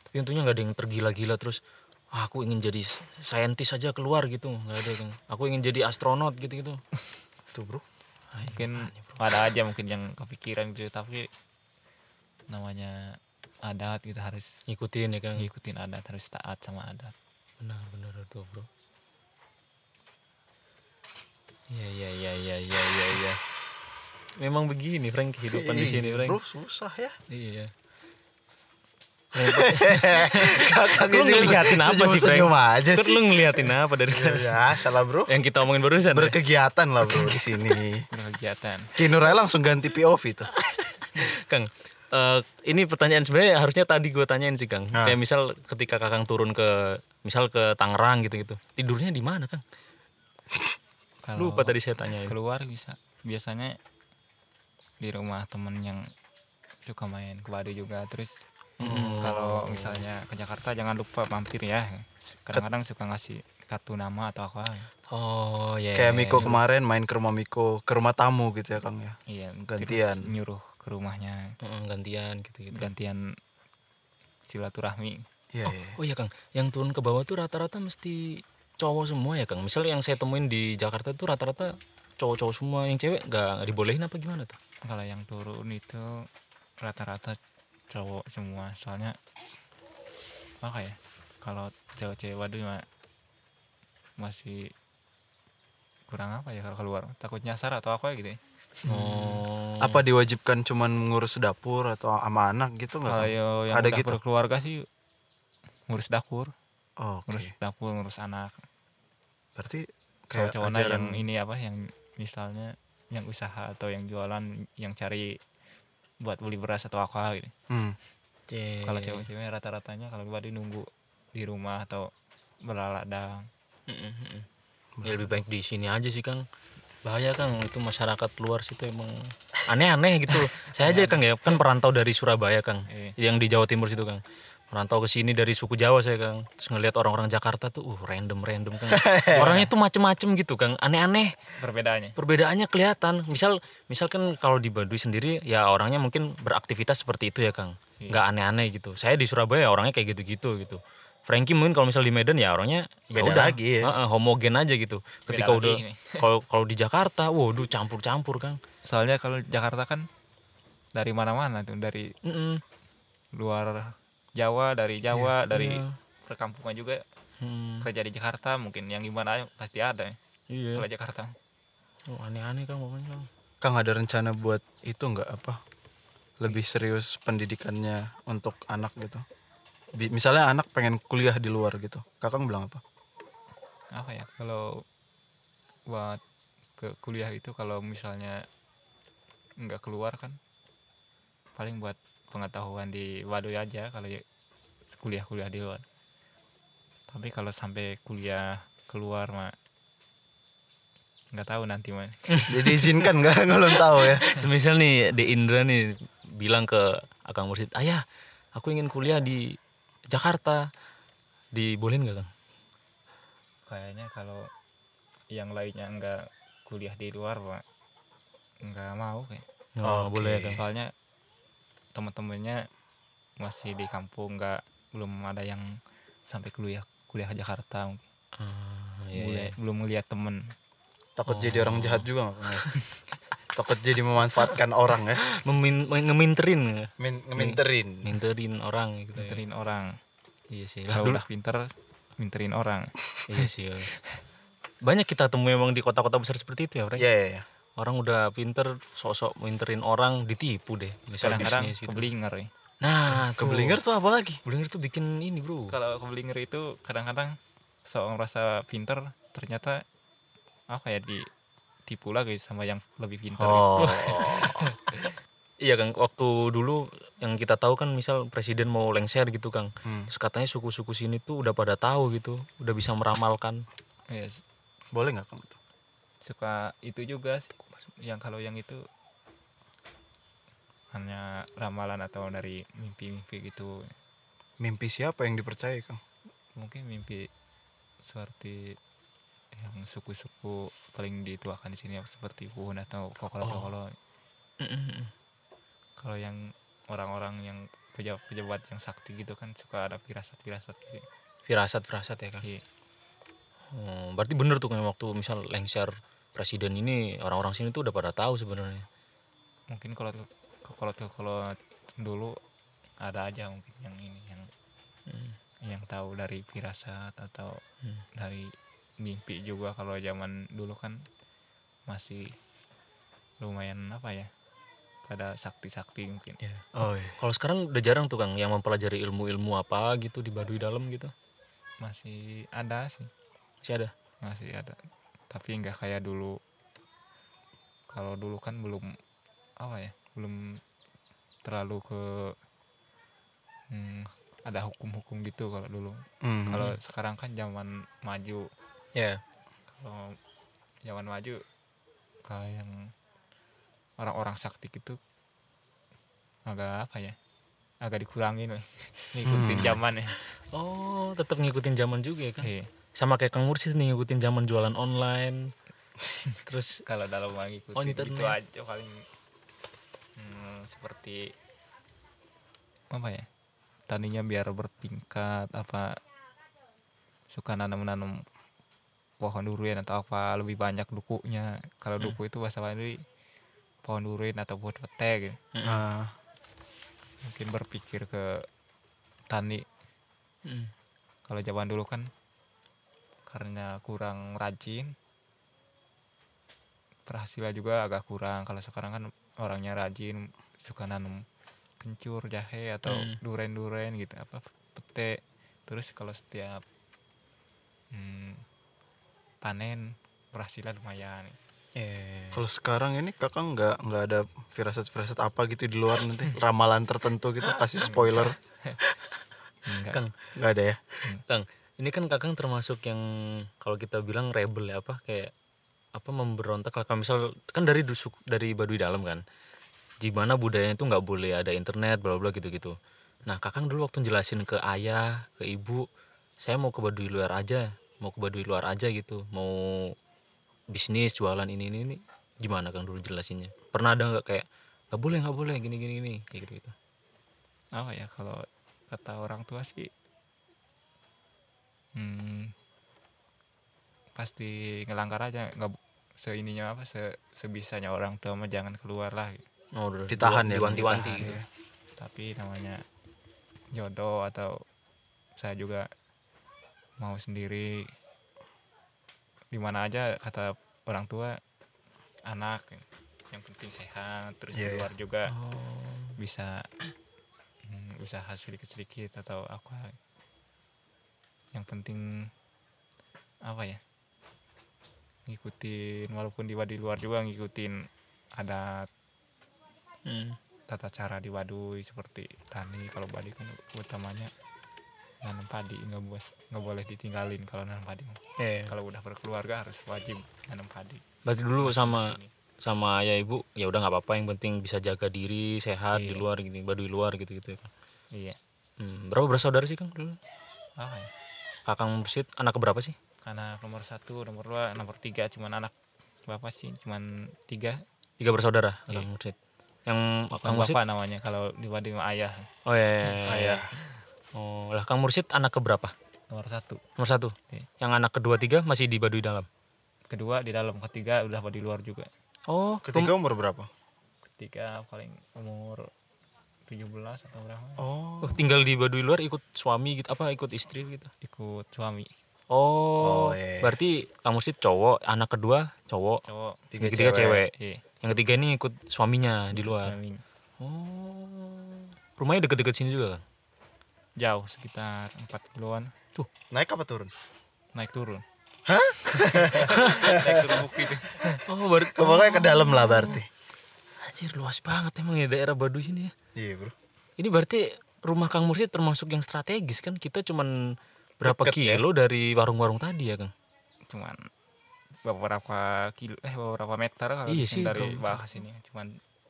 [SPEAKER 1] Tapi untungnya nggak ada yang tergila-gila terus "Ah, aku ingin jadi saintis saja keluar gitu nggak ada yang aku ingin jadi astronot gitu gitu
[SPEAKER 3] Tuh bro.
[SPEAKER 4] mungkin ada aja mungkin yang kepikiran gitu tapi namanya adat gitu harus
[SPEAKER 1] ngikutin ya kan
[SPEAKER 4] ngikutin adat harus taat sama adat
[SPEAKER 1] benar benar tuh bro iya iya iya iya iya iya iya memang begini Frank kehidupan Iya,
[SPEAKER 3] Iya.
[SPEAKER 1] di sini Frank
[SPEAKER 3] Bro susah ya.
[SPEAKER 1] iya
[SPEAKER 3] Kakak
[SPEAKER 1] lu ngeliatin apa sih Frank?
[SPEAKER 3] Senyum aja
[SPEAKER 1] Kan
[SPEAKER 3] Iya sih.
[SPEAKER 1] lu ngeliatin apa dari
[SPEAKER 3] Ya salah bro.
[SPEAKER 1] yang kita omongin barusan ya?
[SPEAKER 3] Berkegiatan lah bro di sini.
[SPEAKER 4] berkegiatan
[SPEAKER 3] Kinurai langsung ganti POV tuh.
[SPEAKER 1] Kang, eh, ini pertanyaan sebenarnya harusnya tadi gue tanyain sih Kang.
[SPEAKER 3] Nah.
[SPEAKER 1] Kayak misal ketika Kakang turun ke misal ke Tangerang gitu-gitu. Tidurnya di mana Kang?
[SPEAKER 4] kalau
[SPEAKER 1] Lupa tadi saya tanyain.
[SPEAKER 4] keluar bisa biasanya di rumah temen yang suka main ke Baduy juga terus kalau misalnya ke Jakarta jangan lupa mampir ya kadang-kadang suka ngasih kartu nama atau apa
[SPEAKER 1] Oh ya.
[SPEAKER 3] Kayak Miko kemarin main ke rumah Miko, ke rumah tamu gitu ya Kang ya.
[SPEAKER 4] iya terus
[SPEAKER 3] Gantian.
[SPEAKER 4] nyuruh ke rumahnya
[SPEAKER 1] gantian gitu-gitu.
[SPEAKER 4] gantian silaturahmi
[SPEAKER 3] Iya iya.
[SPEAKER 1] Oh iya Kang, yang turun ke bawah tuh rata-rata mesti cowok semua ya Kang. Misal yang saya temuin di Jakarta tuh rata-rata cowok-cowok semua yang cewek nggak dibolehin apa gimana tuh?
[SPEAKER 4] kalau yang turun itu rata-rata cowok semua soalnya apa ya kalau cewek-cewek waduh ma- masih kurang apa ya kalau keluar takut nyasar atau apa gitu ya.
[SPEAKER 1] Oh.
[SPEAKER 3] Apa diwajibkan cuman ngurus dapur atau sama anak gitu nggak?
[SPEAKER 4] kalau
[SPEAKER 3] Kang?
[SPEAKER 4] yo- yang
[SPEAKER 3] Ada
[SPEAKER 4] dapur
[SPEAKER 3] gitu?
[SPEAKER 4] keluarga sih ngurus dapur
[SPEAKER 3] Oh, oke.
[SPEAKER 4] ngurus dapur ngurus anak
[SPEAKER 3] Berarti kayak
[SPEAKER 4] cowok-cowok nah
[SPEAKER 3] ajaran
[SPEAKER 4] yang ini apa yang misalnya yang usaha atau yang jualan yang cari buat beli beras atau apa gitu
[SPEAKER 3] Hmm.
[SPEAKER 1] Oke.
[SPEAKER 4] kalau cewek-cewek rata-ratanya kalau gue nunggu di rumah atau berladang
[SPEAKER 1] Mm, mm, mm. Ya, lebih baik di sini aja sih Kang. Bahaya Kang itu masyarakat luar situ emang aneh-aneh gitu. Saya aja Kang ya kan perantau dari Surabaya Kang.
[SPEAKER 4] Iya.
[SPEAKER 1] Yang di Jawa Timur situ Kang. Perantau ke sini dari suku Jawa saya Kang. Terus ngelihat orang-orang Jakarta tuh uh random-random Kang. Orangnya tuh macem-macem gitu Kang. Aneh-aneh.
[SPEAKER 4] perbedaannya
[SPEAKER 1] Perbedaannya kelihatan. Misal misalkan kalau di Baduy sendiri ya orangnya mungkin beraktivitas seperti itu ya Kang.
[SPEAKER 3] Iya.
[SPEAKER 1] nggak aneh-aneh gitu. Saya di Surabaya orangnya kayak gitu-gitu gitu. Frankie mungkin kalau misal di Medan ya orangnya ya
[SPEAKER 3] Beda
[SPEAKER 1] udah,
[SPEAKER 3] lagi ya.
[SPEAKER 1] Heeh, homogen aja gitu. Ketika
[SPEAKER 4] lagi
[SPEAKER 1] udah
[SPEAKER 4] ini.
[SPEAKER 1] kalau kalau di Jakarta, waduh campur-campur Kang.
[SPEAKER 4] soalnya kalau Jakarta kan dari mana-mana tuh dari
[SPEAKER 1] Mm-mm.
[SPEAKER 4] luar Jawa dari Jawa dari perkampungan juga
[SPEAKER 1] Hmm,
[SPEAKER 4] kerja di Jakarta mungkin yang gimana aja pasti ada ya,
[SPEAKER 1] iya.
[SPEAKER 4] kalau Jakarta
[SPEAKER 1] Oh, aneh-aneh Kang pokoknya. Kang.
[SPEAKER 3] Kang ada rencana buat itu nggak apa? Lebih serius pendidikannya untuk anak gitu. Bi- misalnya anak pengen kuliah di luar gitu. Kakang bilang apa?
[SPEAKER 4] apa ya kalau buat ke kuliah itu kalau misalnya nggak keluar kan paling buat pengetahuan di Baduy aja kalau ya kuliah-kuliah di luar tapi kalau sampai kuliah keluar mah nggak tahu nanti mah
[SPEAKER 3] Jadi izinkan nggak? Nggak belum tahu ya.
[SPEAKER 1] Semisal nih De Indra nih bilang ke Akang Mursid, "Ayah, aku ingin kuliah di Jakarta." Dibolehin gak Kang?
[SPEAKER 4] kayaknya kalau yang lainnya nggak kuliah di luar mah nggak mau kayak
[SPEAKER 1] Oh, boleh ya, Kang.
[SPEAKER 4] soalnya teman-temannya masih di kampung nggak belum ada yang sampai kuliah kuliah ke Jakarta mungkin.
[SPEAKER 1] Ah, iya, iya.
[SPEAKER 4] Mulai- belum ngelihat temen
[SPEAKER 3] Takut jadi orang jahat juga nggak? Kang? Takut jadi memanfaatkan orang ya.
[SPEAKER 1] Memin, men- ngeminterin nggak?
[SPEAKER 3] Min, ngeminterin.
[SPEAKER 1] minterin orang gitu ya.
[SPEAKER 4] Iya. minterin orang
[SPEAKER 1] iya sih lah
[SPEAKER 4] kalau
[SPEAKER 1] dulu
[SPEAKER 4] udah pinter minterin orang
[SPEAKER 1] iya sih ya. banyak kita temui emang di kota-kota besar seperti itu ya Frank
[SPEAKER 3] Iya iya. iya.
[SPEAKER 1] orang udah pinter sok-sok minterin orang ditipu deh misalnya
[SPEAKER 4] kadang-kadang
[SPEAKER 1] bisnis gitu.
[SPEAKER 4] keblinger ya.
[SPEAKER 1] nah tuh.
[SPEAKER 3] Keblinger tuh apa lagi?
[SPEAKER 1] keblinger tuh bikin ini bro
[SPEAKER 4] kalau keblinger itu kadang-kadang sok merasa pinter ternyata apa ya ditipu lagi sama yang lebih pinter
[SPEAKER 3] Oh.
[SPEAKER 1] Iya Kang, waktu dulu yang kita tahu kan misal presiden mau lengser gitu Kang.
[SPEAKER 4] Hmm.
[SPEAKER 1] Terus katanya suku-suku sini tuh udah pada tahu gitu, udah bisa meramalkan.
[SPEAKER 4] Ya, s-
[SPEAKER 3] Boleh nggak kamu tuh?
[SPEAKER 4] suka itu juga sih yang kalau yang itu hanya ramalan atau dari mimpi-mimpi gitu
[SPEAKER 3] Mimpi siapa yang dipercaya Kang?
[SPEAKER 4] mungkin mimpi seperti yang suku-suku paling dituakan di sini seperti Wuhan atau Kokolo-Kokolo kalau yang orang-orang yang pejabat-pejabat yang sakti gitu kan suka ada firasat-firasat gitu
[SPEAKER 1] firasat firasat ya kang
[SPEAKER 4] Iya.
[SPEAKER 1] Hmm, berarti bener tuh kan waktu misal lengser presiden ini orang-orang sini tuh udah pada tahu sebenarnya
[SPEAKER 4] mungkin kalau kalau kalau dulu ada aja mungkin yang ini yang yang tahu dari firasat atau
[SPEAKER 1] Hmm.
[SPEAKER 4] dari mimpi juga kalau zaman dulu kan masih lumayan apa ya pada sakti-sakti mungkin
[SPEAKER 1] ya.
[SPEAKER 3] Oh iya.
[SPEAKER 1] Kalau sekarang udah jarang tuh Kang yang mempelajari ilmu-ilmu apa gitu di Baduy dalam gitu.
[SPEAKER 4] masih ada sih
[SPEAKER 1] Masih ada.
[SPEAKER 4] masih ada tapi nggak kayak dulu kalau dulu kan belum apa ya belum terlalu ke hmm, ada hukum-hukum gitu kalau dulu
[SPEAKER 3] Hmm.
[SPEAKER 4] kalau sekarang kan zaman maju
[SPEAKER 1] Ya.
[SPEAKER 4] kalau zaman Oh, maju kalau yang orang-orang sakti gitu agak apa ya agak dikurangin weh. ngikutin
[SPEAKER 1] Hmm.
[SPEAKER 4] zaman ya
[SPEAKER 1] Oh, tetap ngikutin zaman juga ya Kang.
[SPEAKER 4] Iya.
[SPEAKER 1] Sama kayak Kang Mursid nih ngikutin zaman jualan online. Terus
[SPEAKER 4] kalau dalam mah ngikutin
[SPEAKER 1] Oh, internet.
[SPEAKER 4] gitu aja paling hmm, seperti apa ya taninya biar bertingkat apa suka nanam-nanam pohon durian atau apa lebih banyak dukunya kalau
[SPEAKER 1] Hmm.
[SPEAKER 4] duku itu bahasa Bali pohon durian atau pohon pete gitu.
[SPEAKER 3] Ah,
[SPEAKER 4] mungkin berpikir ke tani
[SPEAKER 1] Mm.
[SPEAKER 4] kalau zaman dulu kan karena kurang rajin berhasilnya juga agak kurang kalau sekarang kan orangnya rajin suka nanam kencur jahe atau
[SPEAKER 1] Hmm.
[SPEAKER 4] duren-duren gitu apa pete terus kalau setiap hmm, panen berhasilnya lumayan
[SPEAKER 1] eh,
[SPEAKER 3] kalau sekarang ini kakak nggak nggak ada firasat-firasat apa gitu di luar nanti ramalan tertentu gitu kasih spoiler
[SPEAKER 4] enggak
[SPEAKER 1] Kang,
[SPEAKER 3] nggak ada ya?
[SPEAKER 1] Kang, ini kan Kakang termasuk yang kalau kita bilang rebel ya apa kayak apa memberontak lah Kalau misal kan dari du- suku- dari Baduy dalam kan. Di mana budayanya itu nggak boleh ada internet bla bla gitu-gitu. Nah, Kakang dulu waktu jelasin ke ayah, ke ibu, saya mau ke Baduy luar aja, mau ke Baduy luar aja gitu, mau bisnis jualan ini ini, ini. gimana Kang dulu jelasinnya? Pernah ada nggak kayak nggak boleh nggak boleh gini gini gini kayak gitu gitu.
[SPEAKER 4] apa ya kalau kata orang tua sih hmm, pasti ngelanggar aja nggak bo- seininya apa se- sebisanya orang tua mah jangan keluar lah
[SPEAKER 1] Oh, udah,
[SPEAKER 3] Ditahan ya, Kang?
[SPEAKER 1] diwanti-wanti
[SPEAKER 4] Ditahan,
[SPEAKER 1] gitu.
[SPEAKER 4] ya. tapi namanya jodoh atau saya juga mau sendiri di mana aja kata orang tua anak yang penting sehat terus
[SPEAKER 3] Iya, iya.
[SPEAKER 4] keluar juga
[SPEAKER 1] Oh.
[SPEAKER 4] bisa mm, usaha sedikit-sedikit atau apa yang penting apa ya ngikutin walaupun di wadi luar juga ngikutin ada
[SPEAKER 1] Hmm.
[SPEAKER 4] tata cara di wadui seperti tani kalau padi kan utamanya nanam padi nggak bos- nggak boleh ditinggalin kalau nanam padi
[SPEAKER 1] Iya.
[SPEAKER 4] kalau udah berkeluarga harus wajib nanam padi
[SPEAKER 1] Berarti dulu sama
[SPEAKER 4] Sini.
[SPEAKER 1] sama ayah ibu ya udah nggak apa-apa yang penting bisa jaga diri sehat di
[SPEAKER 4] Iya.
[SPEAKER 1] luar gini baduy luar gitu gitu ya Kang.
[SPEAKER 4] iya
[SPEAKER 1] Hmm, berapa bersaudara sih kang dulu?
[SPEAKER 4] apa ya
[SPEAKER 1] Kakang Mursid anak keberapa sih?
[SPEAKER 4] anak nomor satu nomor dua nomor tiga cuman anak bapak sih cuman tiga
[SPEAKER 1] Tiga bersaudara Kakang Mursid. Yang Iya. Kakang
[SPEAKER 4] kang
[SPEAKER 1] Mursid?
[SPEAKER 4] bapak namanya kalau dibanding sama ayah
[SPEAKER 1] Oh ya, ayah. Oh lah Kang Mursid anak keberapa?
[SPEAKER 4] nomor satu
[SPEAKER 1] Nomor satu.
[SPEAKER 4] Iya.
[SPEAKER 1] Yang anak kedua tiga masih di baduy dalam.
[SPEAKER 4] kedua di dalam ketiga udah di luar juga
[SPEAKER 1] Oh
[SPEAKER 3] Ketiga umur berapa?
[SPEAKER 4] ketiga paling umur 17 atau berapa
[SPEAKER 3] Oh,
[SPEAKER 1] oh, tinggal di baduy luar ikut suami gitu apa ikut istri gitu?
[SPEAKER 4] ikut suami
[SPEAKER 1] Oh,
[SPEAKER 3] Oh, iya.
[SPEAKER 1] berarti Kang Mursid cowok anak kedua cowok.
[SPEAKER 4] cowok
[SPEAKER 1] Tiga, tiga cewek.
[SPEAKER 4] iya
[SPEAKER 1] Yang ketiga ini ikut suaminya di luar.
[SPEAKER 4] suaminya
[SPEAKER 1] Oh. Rumahnya deket-deket sini juga kan?
[SPEAKER 4] jauh sekitar 40 kiloan
[SPEAKER 3] Naik apa turun?
[SPEAKER 4] naik turun hah naik turun bukit
[SPEAKER 1] Oh, baru
[SPEAKER 3] Oh, Pokoknya ke dalam lah berarti.
[SPEAKER 1] anjir luas banget emang ya daerah Baduy sini ya.
[SPEAKER 3] Iya bro.
[SPEAKER 1] Ini berarti rumah Kang Mursid termasuk yang strategis kan? Kita cuman berapa
[SPEAKER 3] Deket ya.
[SPEAKER 1] kilo dari warung-warung tadi ya, Kang?
[SPEAKER 4] cuman beberapa kilo eh beberapa meter kalau
[SPEAKER 1] Iya
[SPEAKER 4] di
[SPEAKER 1] sih,
[SPEAKER 4] sini dari
[SPEAKER 1] kalau-
[SPEAKER 4] bawah ke sini cuman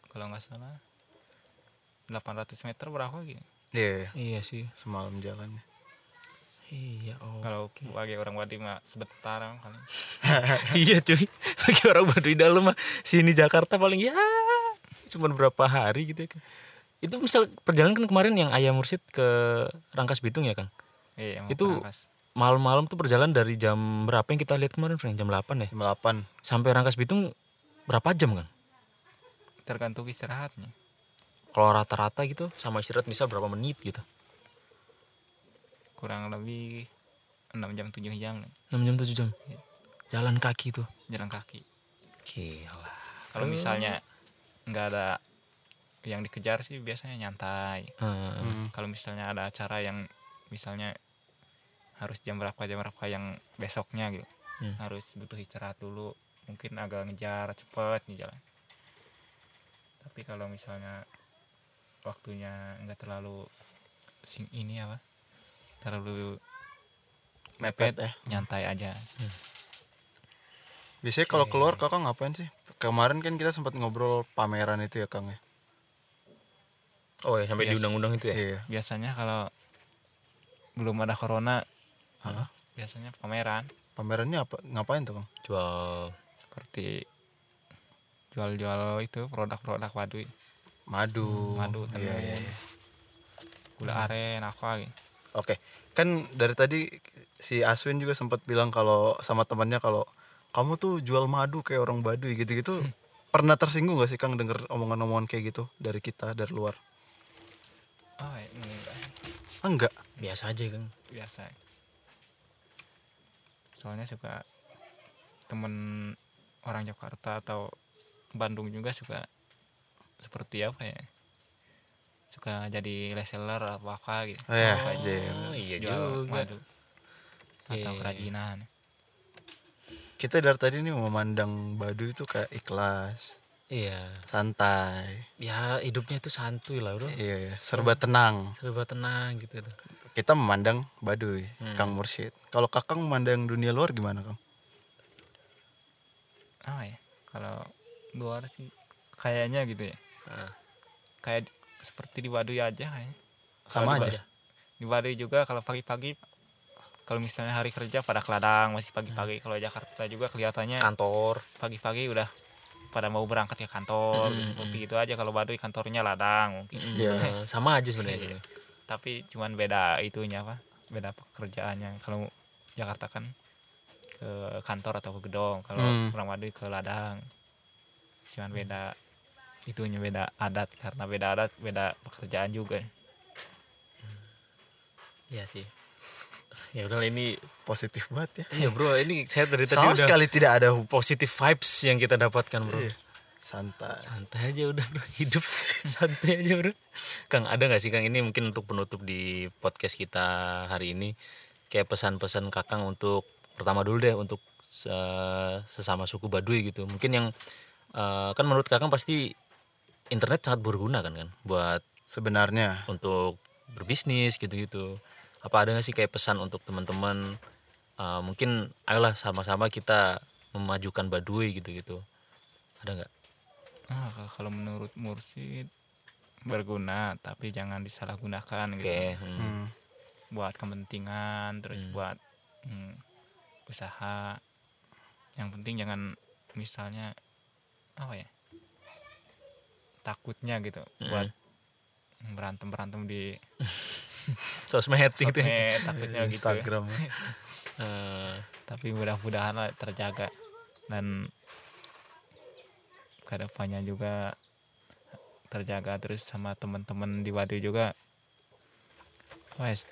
[SPEAKER 4] kalau nggak salah 800 meter berapa gitu
[SPEAKER 3] Iya, iya.
[SPEAKER 1] Iya sih.
[SPEAKER 3] semalam jalannya.
[SPEAKER 1] Iya, oh.
[SPEAKER 4] kalau bagi orang Bali mah sebentar kali
[SPEAKER 3] Nah.
[SPEAKER 1] iya, cuy. Bagi orang Baduy dalam mah sini Jakarta paling ya cuman berapa hari gitu ya, Kang. Itu misal perjalanan kan kemarin yang Ayah Mursid ke Rangkas Bitung ya, Kang?
[SPEAKER 4] Iya, mau
[SPEAKER 1] Itu-
[SPEAKER 4] Rangkas.
[SPEAKER 1] Malam-malam tuh perjalanan dari jam berapa yang kita lihat kemarin, Frank? Jam 8 ya?
[SPEAKER 3] jam 8
[SPEAKER 1] Sampai Rangkas Bitung berapa jam kan?
[SPEAKER 4] tergantung istirahatnya.
[SPEAKER 1] Kalau rata-rata gitu sama istirahat bisa berapa menit gitu?
[SPEAKER 4] Kurang lebih 6 jam 7 jam
[SPEAKER 1] 6 jam 7 jam. Jalan kaki tuh.
[SPEAKER 4] jalan kaki.
[SPEAKER 1] Gila.
[SPEAKER 4] Kalau misalnya nggak ada yang dikejar sih biasanya nyantai.
[SPEAKER 1] Eh,
[SPEAKER 3] Hmm.
[SPEAKER 4] Kalau misalnya ada acara yang misalnya harus jam berapa jam berapa yang besoknya gitu.
[SPEAKER 1] Hmm.
[SPEAKER 4] Harus butuh istirahat dulu. Mungkin agak ngejar cepet nih jalan. Tapi kalau misalnya waktunya nggak terlalu sing ini apa? Terlalu
[SPEAKER 3] mepet ya
[SPEAKER 4] nyantai aja.
[SPEAKER 3] biasanya kalau keluar kakak ngapain sih kemarin kan kita sempat ngobrol pameran itu ya kang ya
[SPEAKER 1] Oh ya sampai
[SPEAKER 4] Iya
[SPEAKER 1] di
[SPEAKER 4] sih.
[SPEAKER 1] undang-undang itu ya?
[SPEAKER 3] iya
[SPEAKER 4] Biasanya kalau belum ada corona
[SPEAKER 3] Hah?
[SPEAKER 4] biasanya pameran
[SPEAKER 3] pamerannya apa ngapain tuh kang
[SPEAKER 1] Jual
[SPEAKER 4] seperti jual-jual itu produk-produk madu
[SPEAKER 3] madu
[SPEAKER 4] madu tenun
[SPEAKER 3] iya, iya, iya.
[SPEAKER 4] gula aren apa gitu
[SPEAKER 3] Oke, kan dari tadi si Aswin juga sempat bilang kalau sama temannya kalau kamu tuh jual madu kayak orang Baduy gitu-gitu. Pernah tersinggung gak sih Kang denger omongan-omongan kayak gitu dari kita dari luar?
[SPEAKER 4] oh ya, enggak
[SPEAKER 3] Ah, enggak.
[SPEAKER 1] biasa aja kan?
[SPEAKER 4] biasa soalnya suka temen orang Jakarta atau Bandung juga suka seperti apa ya suka jadi reseller atau apa gitu
[SPEAKER 3] Eh, aja.
[SPEAKER 1] Oh iya
[SPEAKER 4] jual
[SPEAKER 1] juga.
[SPEAKER 4] madu atau
[SPEAKER 1] Iya.
[SPEAKER 4] kerajinan
[SPEAKER 3] Kita dari tadi nih memandang Baduy itu kayak ikhlas,
[SPEAKER 1] Iya.
[SPEAKER 3] santai,
[SPEAKER 1] Ya hidupnya itu santuy lah bro.
[SPEAKER 3] iya, iya, serba tenang.
[SPEAKER 1] Serba tenang gitu tuh.
[SPEAKER 3] Kita memandang Baduy, Kang Mursyid. Kalau Kakang memandang dunia luar gimana, Kang?
[SPEAKER 4] apa ya kalau luar sih kayaknya gitu ya
[SPEAKER 1] Ah.
[SPEAKER 4] kayak di- seperti di Baduy aja kayaknya
[SPEAKER 3] Sama aja.
[SPEAKER 4] di Baduy juga kalau pagi-pagi kalau misalnya hari kerja pada ke ladang masih
[SPEAKER 1] Hmm.
[SPEAKER 4] pagi-pagi kalau Jakarta juga kelihatannya
[SPEAKER 1] Kan. Kantor.
[SPEAKER 4] pagi-pagi udah pada mau berangkat ke kantor
[SPEAKER 1] Mm, mm,
[SPEAKER 4] seperti itu aja kalau Baduy kantornya ladang mungkin
[SPEAKER 1] Mm,
[SPEAKER 3] Iya.
[SPEAKER 1] Sama aja sebenarnya.
[SPEAKER 4] tapi cuman beda itunya apa beda pekerjaannya kalau Jakarta kan ke kantor atau ke gedong kalau
[SPEAKER 3] Hmm.
[SPEAKER 4] orang Baduy ke ladang cuman beda itunya beda adat karena beda adat beda pekerjaan juga
[SPEAKER 1] Iya sih. ya udah lah, ini
[SPEAKER 3] Positif banget ya.
[SPEAKER 1] iya bro ini saya dari tadi
[SPEAKER 3] Sama
[SPEAKER 1] udah
[SPEAKER 3] sekali tidak ada hub.
[SPEAKER 1] positive vibes yang kita dapatkan bro
[SPEAKER 3] Iya. Santai.
[SPEAKER 1] santai aja udah bro hidup santai aja bro kang ada nggak sih kang ini mungkin untuk penutup di podcast kita hari ini kayak pesan-pesan kakang untuk pertama dulu deh untuk se- sesama suku Baduy gitu mungkin yang eh, kan menurut kakang pasti internet sangat berguna kan kan buat
[SPEAKER 3] Sebenarnya
[SPEAKER 1] untuk berbisnis gitu-gitu. Apa ada nggak sih kayak pesan untuk teman-teman? eh, mungkin ayolah sama-sama kita memajukan Baduy gitu-gitu. Ada nggak?
[SPEAKER 4] Ah, k- kalau menurut Mursid berguna tapi jangan disalahgunakan
[SPEAKER 1] Oke.
[SPEAKER 4] gitu
[SPEAKER 1] hmm.
[SPEAKER 3] Hmm.
[SPEAKER 4] buat kepentingan terus buat mm, usaha yang penting jangan misalnya apa ya takutnya gitu buat berantem berantem di
[SPEAKER 1] Sosmed gitu. ya.
[SPEAKER 4] sosmed takutnya gitu ya.
[SPEAKER 3] Instagram.
[SPEAKER 1] Eh,
[SPEAKER 4] tapi mudah-mudahan lah terjaga dan kedepannya juga terjaga terus sama teman-teman di Wadu juga wes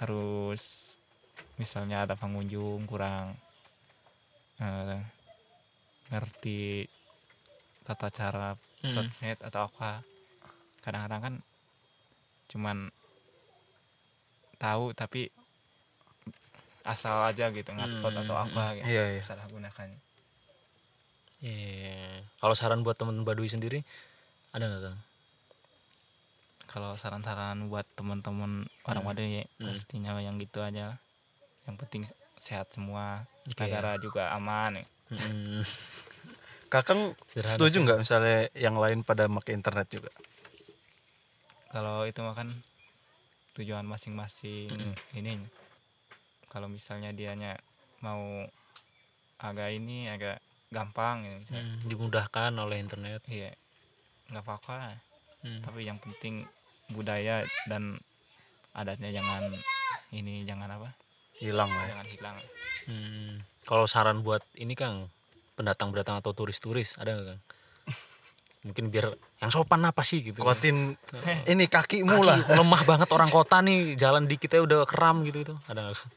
[SPEAKER 4] harus misalnya ada pengunjung kurang eh, ngerti tata cara
[SPEAKER 1] Mm.
[SPEAKER 4] sosmed atau apa kadang-kadang kan cuman tahu tapi asal aja gitu
[SPEAKER 1] Hmm,
[SPEAKER 4] ngupload atau apa gitu
[SPEAKER 3] Iya, iya.
[SPEAKER 4] salah gunakan
[SPEAKER 1] iya. Kalau saran buat teman Baduy sendiri ada nggak kang?
[SPEAKER 4] kalau saran-saran buat teman-teman
[SPEAKER 1] Iya.
[SPEAKER 4] orang Waduh ya pastinya yang gitu aja yang penting sehat semua
[SPEAKER 1] Oke.
[SPEAKER 4] negara juga aman ya.
[SPEAKER 1] Mm,
[SPEAKER 3] Kakang
[SPEAKER 1] Sederhana
[SPEAKER 3] setuju nggak misalnya yang lain pada pakai internet juga?
[SPEAKER 4] kalau itu mah kan tujuan masing-masing ini kalau misalnya dianya mau agak ini agak gampang ya, misalnya.
[SPEAKER 1] mm, dimudahkan oleh internet.
[SPEAKER 4] iya nggak apa-apa
[SPEAKER 1] Mm.
[SPEAKER 4] Hmm. tapi yang penting budaya dan adatnya jangan ini jangan apa
[SPEAKER 3] hilang lah ya.
[SPEAKER 4] jangan hilang
[SPEAKER 1] Hmm. Kalau saran buat ini Kang, pendatang-pendatang atau turis-turis ada nggak Kang? Mungkin biar yang sopan apa sih gitu.
[SPEAKER 3] kuatin ini kakimu lah
[SPEAKER 1] Kaki lemah banget orang kota nih, jalan dikit aja udah kram gitu itu. Ada nggak? Kang?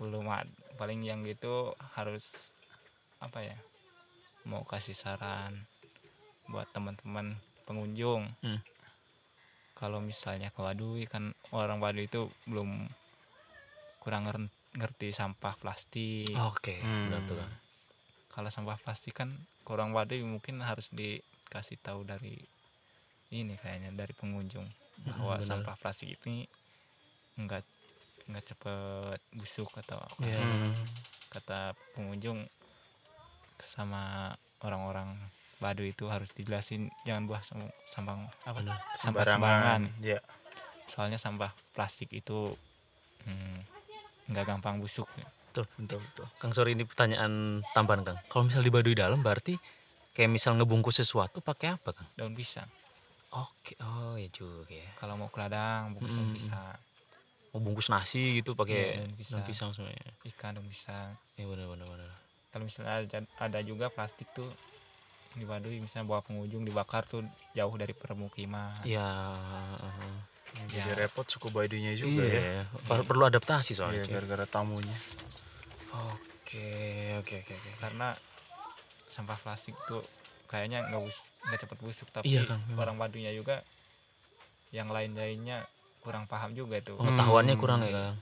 [SPEAKER 4] belum ad- paling yang gitu harus apa ya mau kasih saran buat teman-teman pengunjung
[SPEAKER 1] Hmm.
[SPEAKER 4] kalau misalnya ke Wadui kan orang Wadui itu belum kurang nger- ngerti sampah plastik
[SPEAKER 1] Oke, benar tuh Kang.
[SPEAKER 4] kalau sampah plastik kan kurang wadai mungkin harus dikasih tahu dari ini kayaknya dari pengunjung bahwa sampah plastik itu nggak nggak cepet busuk atau apa.
[SPEAKER 1] Iya.
[SPEAKER 3] Hmm.
[SPEAKER 4] kata pengunjung sama orang-orang Badu itu harus dijelasin jangan buah sam- sampah apa
[SPEAKER 1] Benar.
[SPEAKER 4] sampah sembarangan
[SPEAKER 3] sembarangan ya
[SPEAKER 4] soalnya sampah plastik itu hmm, nggak gampang busuk
[SPEAKER 1] Tuh,
[SPEAKER 3] betul betul
[SPEAKER 1] Kang sorry ini pertanyaan tambahan Kang. Kalau misal di Baduy dalam berarti kayak misal ngebungkus sesuatu pakai apa Kang?
[SPEAKER 4] daun pisang
[SPEAKER 1] Oke, oh ya juga ya.
[SPEAKER 4] kalau mau ke ladang bungkus daun pisang
[SPEAKER 1] Mau bungkus nasi gitu
[SPEAKER 4] Iya,
[SPEAKER 1] pakai
[SPEAKER 4] daun pisang.
[SPEAKER 1] daun pisang semuanya.
[SPEAKER 4] ikan daun pisang
[SPEAKER 1] Ya benar benar benar.
[SPEAKER 4] kalau misalnya ada, ada juga plastik tuh di Baduy misalnya bawa pengunjung dibakar tuh jauh dari permukiman
[SPEAKER 1] Ya,
[SPEAKER 3] jadi
[SPEAKER 4] Iya.
[SPEAKER 3] repot suku Baduinya juga ya
[SPEAKER 1] iya. Per- Perlu adaptasi soalnya.
[SPEAKER 3] Iya,
[SPEAKER 1] cuy.
[SPEAKER 3] gara-gara tamunya
[SPEAKER 1] Oke, oke, oke, oke.
[SPEAKER 4] karena sampah plastik tuh kayaknya nggak bus nggak cepet busuk tapi
[SPEAKER 1] Iya, Kang, memang.
[SPEAKER 4] orang Badunya juga yang lain lainnya kurang paham juga tuh
[SPEAKER 1] Pengetahuannya kurang
[SPEAKER 3] Hmm.
[SPEAKER 1] ya, Kang.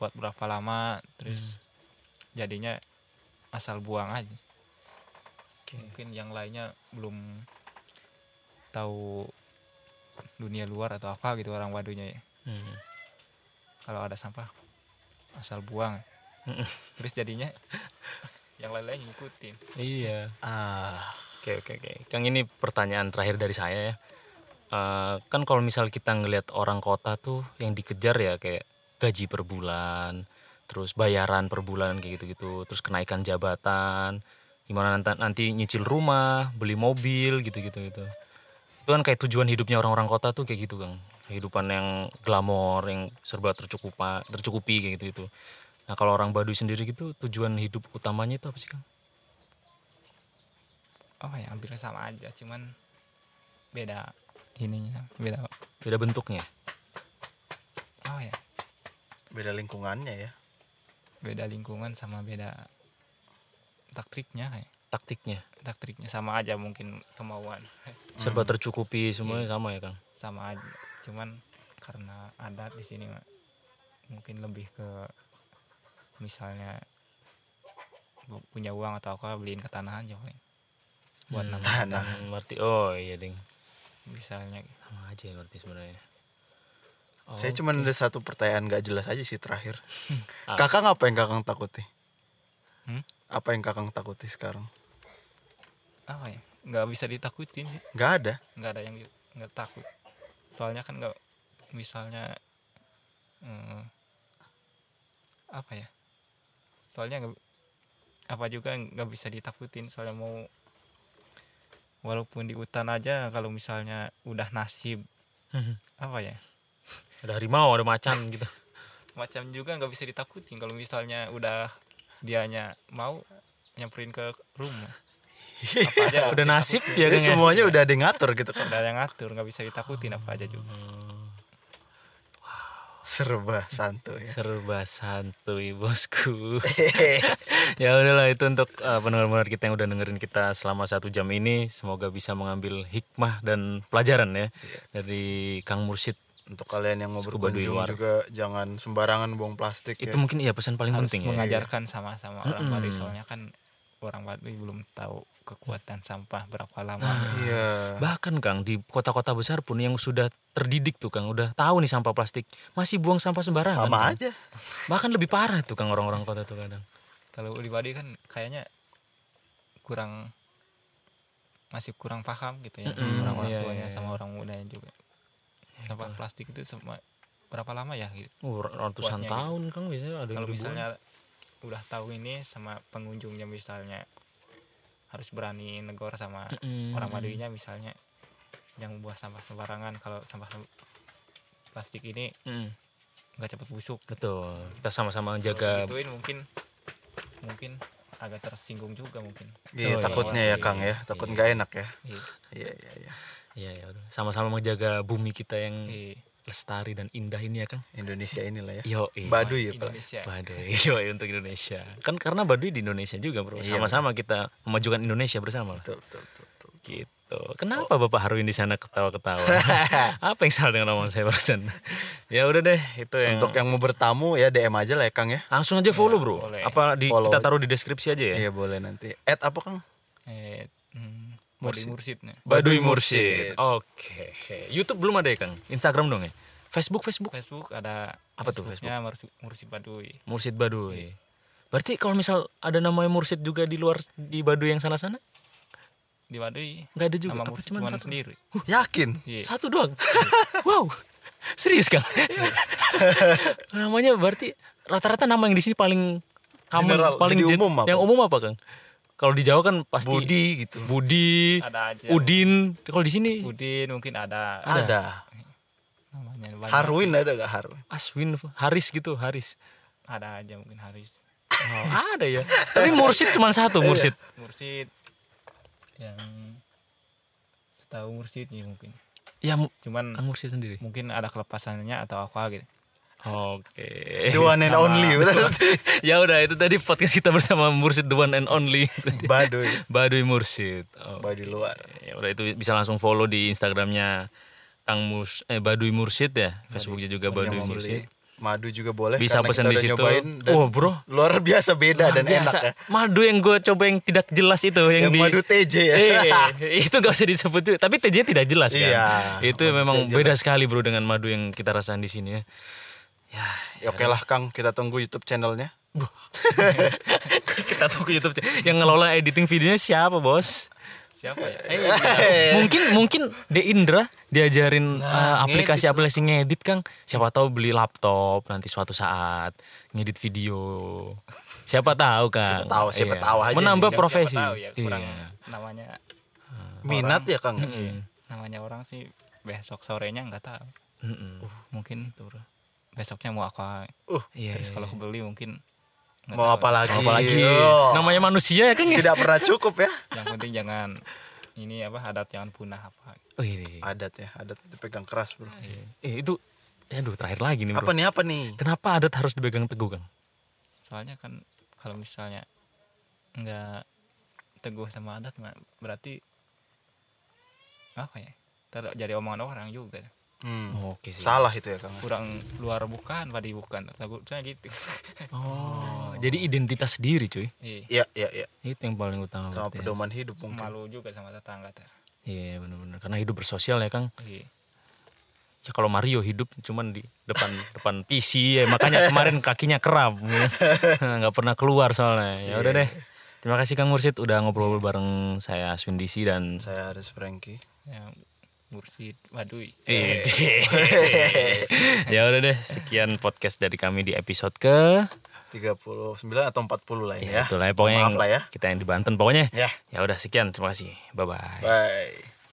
[SPEAKER 4] kuat berapa lama
[SPEAKER 1] Hmm.
[SPEAKER 4] terus jadinya asal buang aja mungkin yang lainnya belum tahu dunia luar atau apa gitu orang Badunya ya
[SPEAKER 1] Hmm.
[SPEAKER 4] kalau ada sampah asal buang terus jadinya yang lain-lain ngikutin
[SPEAKER 1] Iya.
[SPEAKER 3] ah
[SPEAKER 1] Oke, oke, oke. Kang ini pertanyaan terakhir dari saya ya. Eh, kan kalau misal kita ngelihat orang kota tuh yang dikejar ya kayak gaji per bulan, terus bayaran per bulan kayak gitu-gitu, terus kenaikan jabatan, gimana nanti, nanti nyicil rumah, beli mobil gitu-gitu gitu. Itu kan kayak tujuan hidupnya orang-orang kota tuh kayak gitu, Kang. Kehidupan yang glamor, yang serba tercukupa, tercukupi kayak gitu-gitu. Nah, kalau orang Baduy sendiri gitu tujuan hidup utamanya itu apa sih, Kang?
[SPEAKER 4] apa ya hampir sama aja cuman beda ininya beda
[SPEAKER 1] Beda bentuknya.
[SPEAKER 4] apa ya
[SPEAKER 3] beda lingkungannya ya
[SPEAKER 4] beda lingkungan sama beda taktiknya kayak
[SPEAKER 1] taktiknya
[SPEAKER 4] taktiknya sama aja mungkin kemauan
[SPEAKER 1] serba tercukupi semuanya sama ya kang
[SPEAKER 4] sama aja cuman karena adat di sini Mak, mungkin lebih ke misalnya bu- punya uang atau apa beliin ke tanah aja paling buat nama
[SPEAKER 3] tanah
[SPEAKER 1] Hmm, ngerti oh iya ding
[SPEAKER 4] misalnya
[SPEAKER 1] sama aja yang ngerti sebenarnya oh,
[SPEAKER 3] saya cuma ada satu pertanyaan gak jelas aja sih terakhir kakang apa yang kakang takuti
[SPEAKER 4] Hmm?
[SPEAKER 3] apa yang kakang takuti sekarang
[SPEAKER 4] apa ya nggak bisa ditakutin sih
[SPEAKER 3] nggak ada
[SPEAKER 4] nggak ada yang di- nggak takut soalnya kan nggak misalnya eh, apa ya soalnya nggak apa juga nggak bisa ditakutin soalnya mau walaupun di hutan aja kalau misalnya udah nasib apa ya
[SPEAKER 1] ada harimau ada macan gitu
[SPEAKER 4] macam juga nggak bisa ditakutin kalau misalnya udah dianya mau nyamperin ke rumah apa aja
[SPEAKER 1] udah nasib ya kang
[SPEAKER 3] Jadi
[SPEAKER 1] ya?
[SPEAKER 3] semuanya udah ada yang ngatur gitu kan
[SPEAKER 4] udah ada yang ngatur nggak bisa ditakutin apa aja juga
[SPEAKER 3] serba santuy ya.
[SPEAKER 1] serba santuy bosku ya udahlah itu untuk uh, pendengar-pendengar kita yang udah dengerin kita selama satu jam ini semoga bisa mengambil hikmah dan pelajaran ya dari kang mursid
[SPEAKER 3] untuk kalian yang mau
[SPEAKER 1] Scuba di
[SPEAKER 3] berkunjung
[SPEAKER 1] luar.
[SPEAKER 3] juga jangan sembarangan buang plastik
[SPEAKER 1] itu
[SPEAKER 3] ya.
[SPEAKER 1] mungkin iya pesan paling
[SPEAKER 4] harus
[SPEAKER 1] penting ya
[SPEAKER 4] mengajarkan sama-sama orang Bali soalnya kan orang Bali belum tahu kekuatan sampah berapa lama
[SPEAKER 1] Nah.
[SPEAKER 3] iya
[SPEAKER 1] Bahkan Kang di kota-kota besar pun yang sudah terdidik tuh Kang udah tahu nih sampah plastik masih buang sampah sembarangan.
[SPEAKER 3] sama
[SPEAKER 1] Kang.
[SPEAKER 3] aja
[SPEAKER 1] Bahkan lebih parah tuh Kang orang-orang kota tuh kadang.
[SPEAKER 4] kalau di Bali kan kayaknya kurang masih kurang paham gitu ya
[SPEAKER 1] Mm-mm,
[SPEAKER 4] orang-orang
[SPEAKER 1] iya,
[SPEAKER 4] tuanya
[SPEAKER 1] iya,
[SPEAKER 4] sama orang mudanya juga sampah plastik itu sama berapa lama ya gitu
[SPEAKER 1] Uh, ratusan
[SPEAKER 4] Buatnya gitu.
[SPEAKER 1] tahun Kang biasanya ada yang
[SPEAKER 4] kalau
[SPEAKER 1] dibuang.
[SPEAKER 4] misalnya udah tahu ini sama pengunjungnya misalnya harus berani negor sama
[SPEAKER 1] Mm-mm.
[SPEAKER 4] orang Baduinya misalnya yang buah sampah sembarangan kalau sampah plastik ini
[SPEAKER 1] Mm,
[SPEAKER 4] nggak cepat busuk
[SPEAKER 1] betul kita sama-sama jaga
[SPEAKER 4] Kalau gitu ya. gituin mungkin mungkin agak tersinggung juga mungkin
[SPEAKER 1] Oh,
[SPEAKER 3] Iya,
[SPEAKER 1] iya.
[SPEAKER 3] takutnya ya Kang ya, takut nggak enak ya.
[SPEAKER 4] Iya,
[SPEAKER 3] Iya, iya, iya.
[SPEAKER 1] ya, ya, udah. sama-sama menjaga bumi kita yang
[SPEAKER 4] iya.
[SPEAKER 1] lestari dan indah ini ya Kang
[SPEAKER 3] Indonesia inilah ya.
[SPEAKER 1] yo Iya,
[SPEAKER 3] Baduy ya, Pak.
[SPEAKER 4] Indonesia
[SPEAKER 1] Baduy yo untuk Indonesia kan karena Baduy di Indonesia juga bro
[SPEAKER 3] Iya,
[SPEAKER 1] sama-sama kita memajukan Indonesia bersama lah.
[SPEAKER 3] Betul, betul, betul. betul.
[SPEAKER 1] gitu kenapa Bapak Harwin di sana ketawa-ketawa apa yang salah dengan omongan saya barusan ya udah deh itu yang
[SPEAKER 3] Untuk yang mau bertamu ya DM aja lah ya Kang ya.
[SPEAKER 1] langsung aja follow bro
[SPEAKER 4] Iya, boleh.
[SPEAKER 1] apa di,
[SPEAKER 3] Follow.
[SPEAKER 1] kita taruh di deskripsi aja ya
[SPEAKER 3] Iya, boleh nanti. Add apa Kang?
[SPEAKER 4] eh hmm,
[SPEAKER 3] Mursid.
[SPEAKER 4] Baduy mursidnya
[SPEAKER 1] Baduy Mursyid. Oke. YouTube belum ada ya, Kang? Instagram dong ya? Facebook, Facebook.
[SPEAKER 4] Facebook ada
[SPEAKER 1] Apa tuh Facebook?
[SPEAKER 4] Facebooknya Mursi- Mursid Baduy
[SPEAKER 1] Mursyid Baduy. Berarti kalau misal ada namanya Mursyid juga di luar di Baduy yang sana-sana?
[SPEAKER 4] di Baduy
[SPEAKER 1] Nggak ada juga.
[SPEAKER 4] nama
[SPEAKER 1] Apa
[SPEAKER 4] Mursid
[SPEAKER 1] cuman
[SPEAKER 4] cuma
[SPEAKER 1] satu?
[SPEAKER 4] sendiri
[SPEAKER 3] Yakin?
[SPEAKER 4] Iya.
[SPEAKER 1] Satu doang. wow. Serius, Kang? namanya berarti rata-rata nama yang di sini paling common,
[SPEAKER 3] General,
[SPEAKER 1] paling
[SPEAKER 3] jadi
[SPEAKER 1] gen-
[SPEAKER 3] umum apa?
[SPEAKER 1] Yang umum apa, Kang? Kalau di Jawa kan pasti
[SPEAKER 3] Budi gitu.
[SPEAKER 1] Budi,
[SPEAKER 4] Ada aja.
[SPEAKER 1] Udin. Ah, Kalau di sini
[SPEAKER 4] Udin mungkin ada
[SPEAKER 3] Ada.
[SPEAKER 4] namanya banyak.
[SPEAKER 3] Harwin ada gak Harwin?
[SPEAKER 1] Aswin, Haris gitu, Haris.
[SPEAKER 4] ada aja mungkin Haris
[SPEAKER 1] Oh, ada ya. Tapi mursid cuma
[SPEAKER 3] Iya.
[SPEAKER 1] satu mursid.
[SPEAKER 4] Mursid yang tahu Mursidnya mungkin
[SPEAKER 1] Ya mu-
[SPEAKER 4] cuman
[SPEAKER 1] Kang mursid sendiri.
[SPEAKER 4] mungkin ada kelepasannya atau apa gitu
[SPEAKER 1] Oke. Eh,
[SPEAKER 3] The one and only berarti.
[SPEAKER 1] ya udah itu tadi podcast kita bersama mursid the one and only.
[SPEAKER 3] Baduy,
[SPEAKER 1] Baduy mursid. Oh.
[SPEAKER 3] Baduy luar.
[SPEAKER 1] Ya udah itu bisa langsung follow di Instagramnya Kang Mus eh Baduy Mursid ya. Facebooknya juga
[SPEAKER 3] Yang
[SPEAKER 1] Baduy
[SPEAKER 3] mau beli
[SPEAKER 1] Mursid.
[SPEAKER 3] madu juga boleh
[SPEAKER 1] Bisa
[SPEAKER 3] karena
[SPEAKER 1] pesan
[SPEAKER 3] kita
[SPEAKER 1] di
[SPEAKER 3] udah
[SPEAKER 1] situ.
[SPEAKER 3] nyobain dan
[SPEAKER 1] Oh, bro.
[SPEAKER 3] Luar biasa beda dan
[SPEAKER 1] Biasa.
[SPEAKER 3] enak ya.
[SPEAKER 1] Madu yang gue coba yang tidak jelas itu yang,
[SPEAKER 3] Yang
[SPEAKER 1] di
[SPEAKER 3] madu TJ ya.
[SPEAKER 1] Eh, itu gak usah disebut juga. Tapi TJ tidak jelas kan.
[SPEAKER 3] Iya,
[SPEAKER 1] itu
[SPEAKER 3] madu
[SPEAKER 1] memang
[SPEAKER 3] TJ
[SPEAKER 1] beda sekali bro dengan madu yang kita rasain di sini ya. Ya,
[SPEAKER 3] Ya, Oke lah Kang, kita tunggu YouTube channelnya.
[SPEAKER 1] buh. kita tunggu YouTube yang ngelola editing videonya siapa bos?
[SPEAKER 4] siapa ya
[SPEAKER 3] Eh.
[SPEAKER 1] mungkin mungkin De Indra
[SPEAKER 3] Nah,
[SPEAKER 1] diajarin eh, aplikasi aplikasi ngedit Kang. Siapa tahu beli laptop nanti suatu saat ngedit video. Siapa tahu Kang.
[SPEAKER 3] Siapa tahu, siapa
[SPEAKER 1] Iya.
[SPEAKER 3] tahu aja
[SPEAKER 1] Menambah
[SPEAKER 3] nih.
[SPEAKER 1] profesi.
[SPEAKER 4] Siapa tahu ya, kurang
[SPEAKER 1] Iya.
[SPEAKER 4] namanya
[SPEAKER 3] Minat ya Kang?
[SPEAKER 4] namanya orang sih besok sorenya nggak tahu
[SPEAKER 1] Mm-mm.
[SPEAKER 4] mungkin besoknya mau apa
[SPEAKER 3] Uh,
[SPEAKER 1] Iya. Iya.
[SPEAKER 4] terus kalau kebeli mungkin nggak
[SPEAKER 3] mau
[SPEAKER 4] tahu.
[SPEAKER 3] apa lagi?
[SPEAKER 1] Apalagi
[SPEAKER 3] Oh,
[SPEAKER 1] namanya manusia ya Kang ya.
[SPEAKER 3] tidak pernah cukup ya.
[SPEAKER 4] yang penting jangan ini apa adat jangan punah apa
[SPEAKER 1] Oh, ini.
[SPEAKER 3] Adat ya, adat dipegang keras bro.
[SPEAKER 1] Eh, itu aduh terakhir lagi nih
[SPEAKER 3] Apa
[SPEAKER 1] bro.
[SPEAKER 3] nih apa nih?
[SPEAKER 1] Kenapa adat harus dipegang teguh Kang?
[SPEAKER 4] soalnya kan kalau misalnya nggak teguh sama adat mah berarti apa ya Ntar jadi omongan orang juga
[SPEAKER 3] Hmm.
[SPEAKER 1] Oke sih.
[SPEAKER 3] Salah itu ya Kang.
[SPEAKER 4] kurang luar bukan pada bukan takutnya gitu
[SPEAKER 1] Oh, jadi identitas diri cuy.
[SPEAKER 4] iya
[SPEAKER 3] Iya iya iya.
[SPEAKER 1] Itu yang paling utama.
[SPEAKER 3] Sama
[SPEAKER 1] berarti ya.
[SPEAKER 3] pedoman hidup mungkin.
[SPEAKER 4] malu juga sama tetangga ter
[SPEAKER 1] Iya benar-benar karena hidup bersosial ya Kang.
[SPEAKER 4] iya
[SPEAKER 1] Ya kalau Mario hidup cuman di depan depan PC ya makanya kemarin kakinya kram nggak pernah keluar soalnya. Ya udah deh. Terima kasih Kang Mursid udah ngobrol bareng saya Aswin Disi dan
[SPEAKER 3] Saya Aris Franky.
[SPEAKER 4] yang ya, mursid baduy
[SPEAKER 3] Iya.
[SPEAKER 1] Eh, ya udah deh sekian podcast dari kami di episode ke
[SPEAKER 3] 39 atau 40 lah ini
[SPEAKER 1] ya,
[SPEAKER 3] ya.
[SPEAKER 1] itulah ya, pokoknya
[SPEAKER 3] Maaf
[SPEAKER 1] yang-
[SPEAKER 3] lah ya.
[SPEAKER 1] kita yang di Banten pokoknya
[SPEAKER 3] Ya.
[SPEAKER 1] ya udah sekian terima kasih bye bye
[SPEAKER 3] Bye.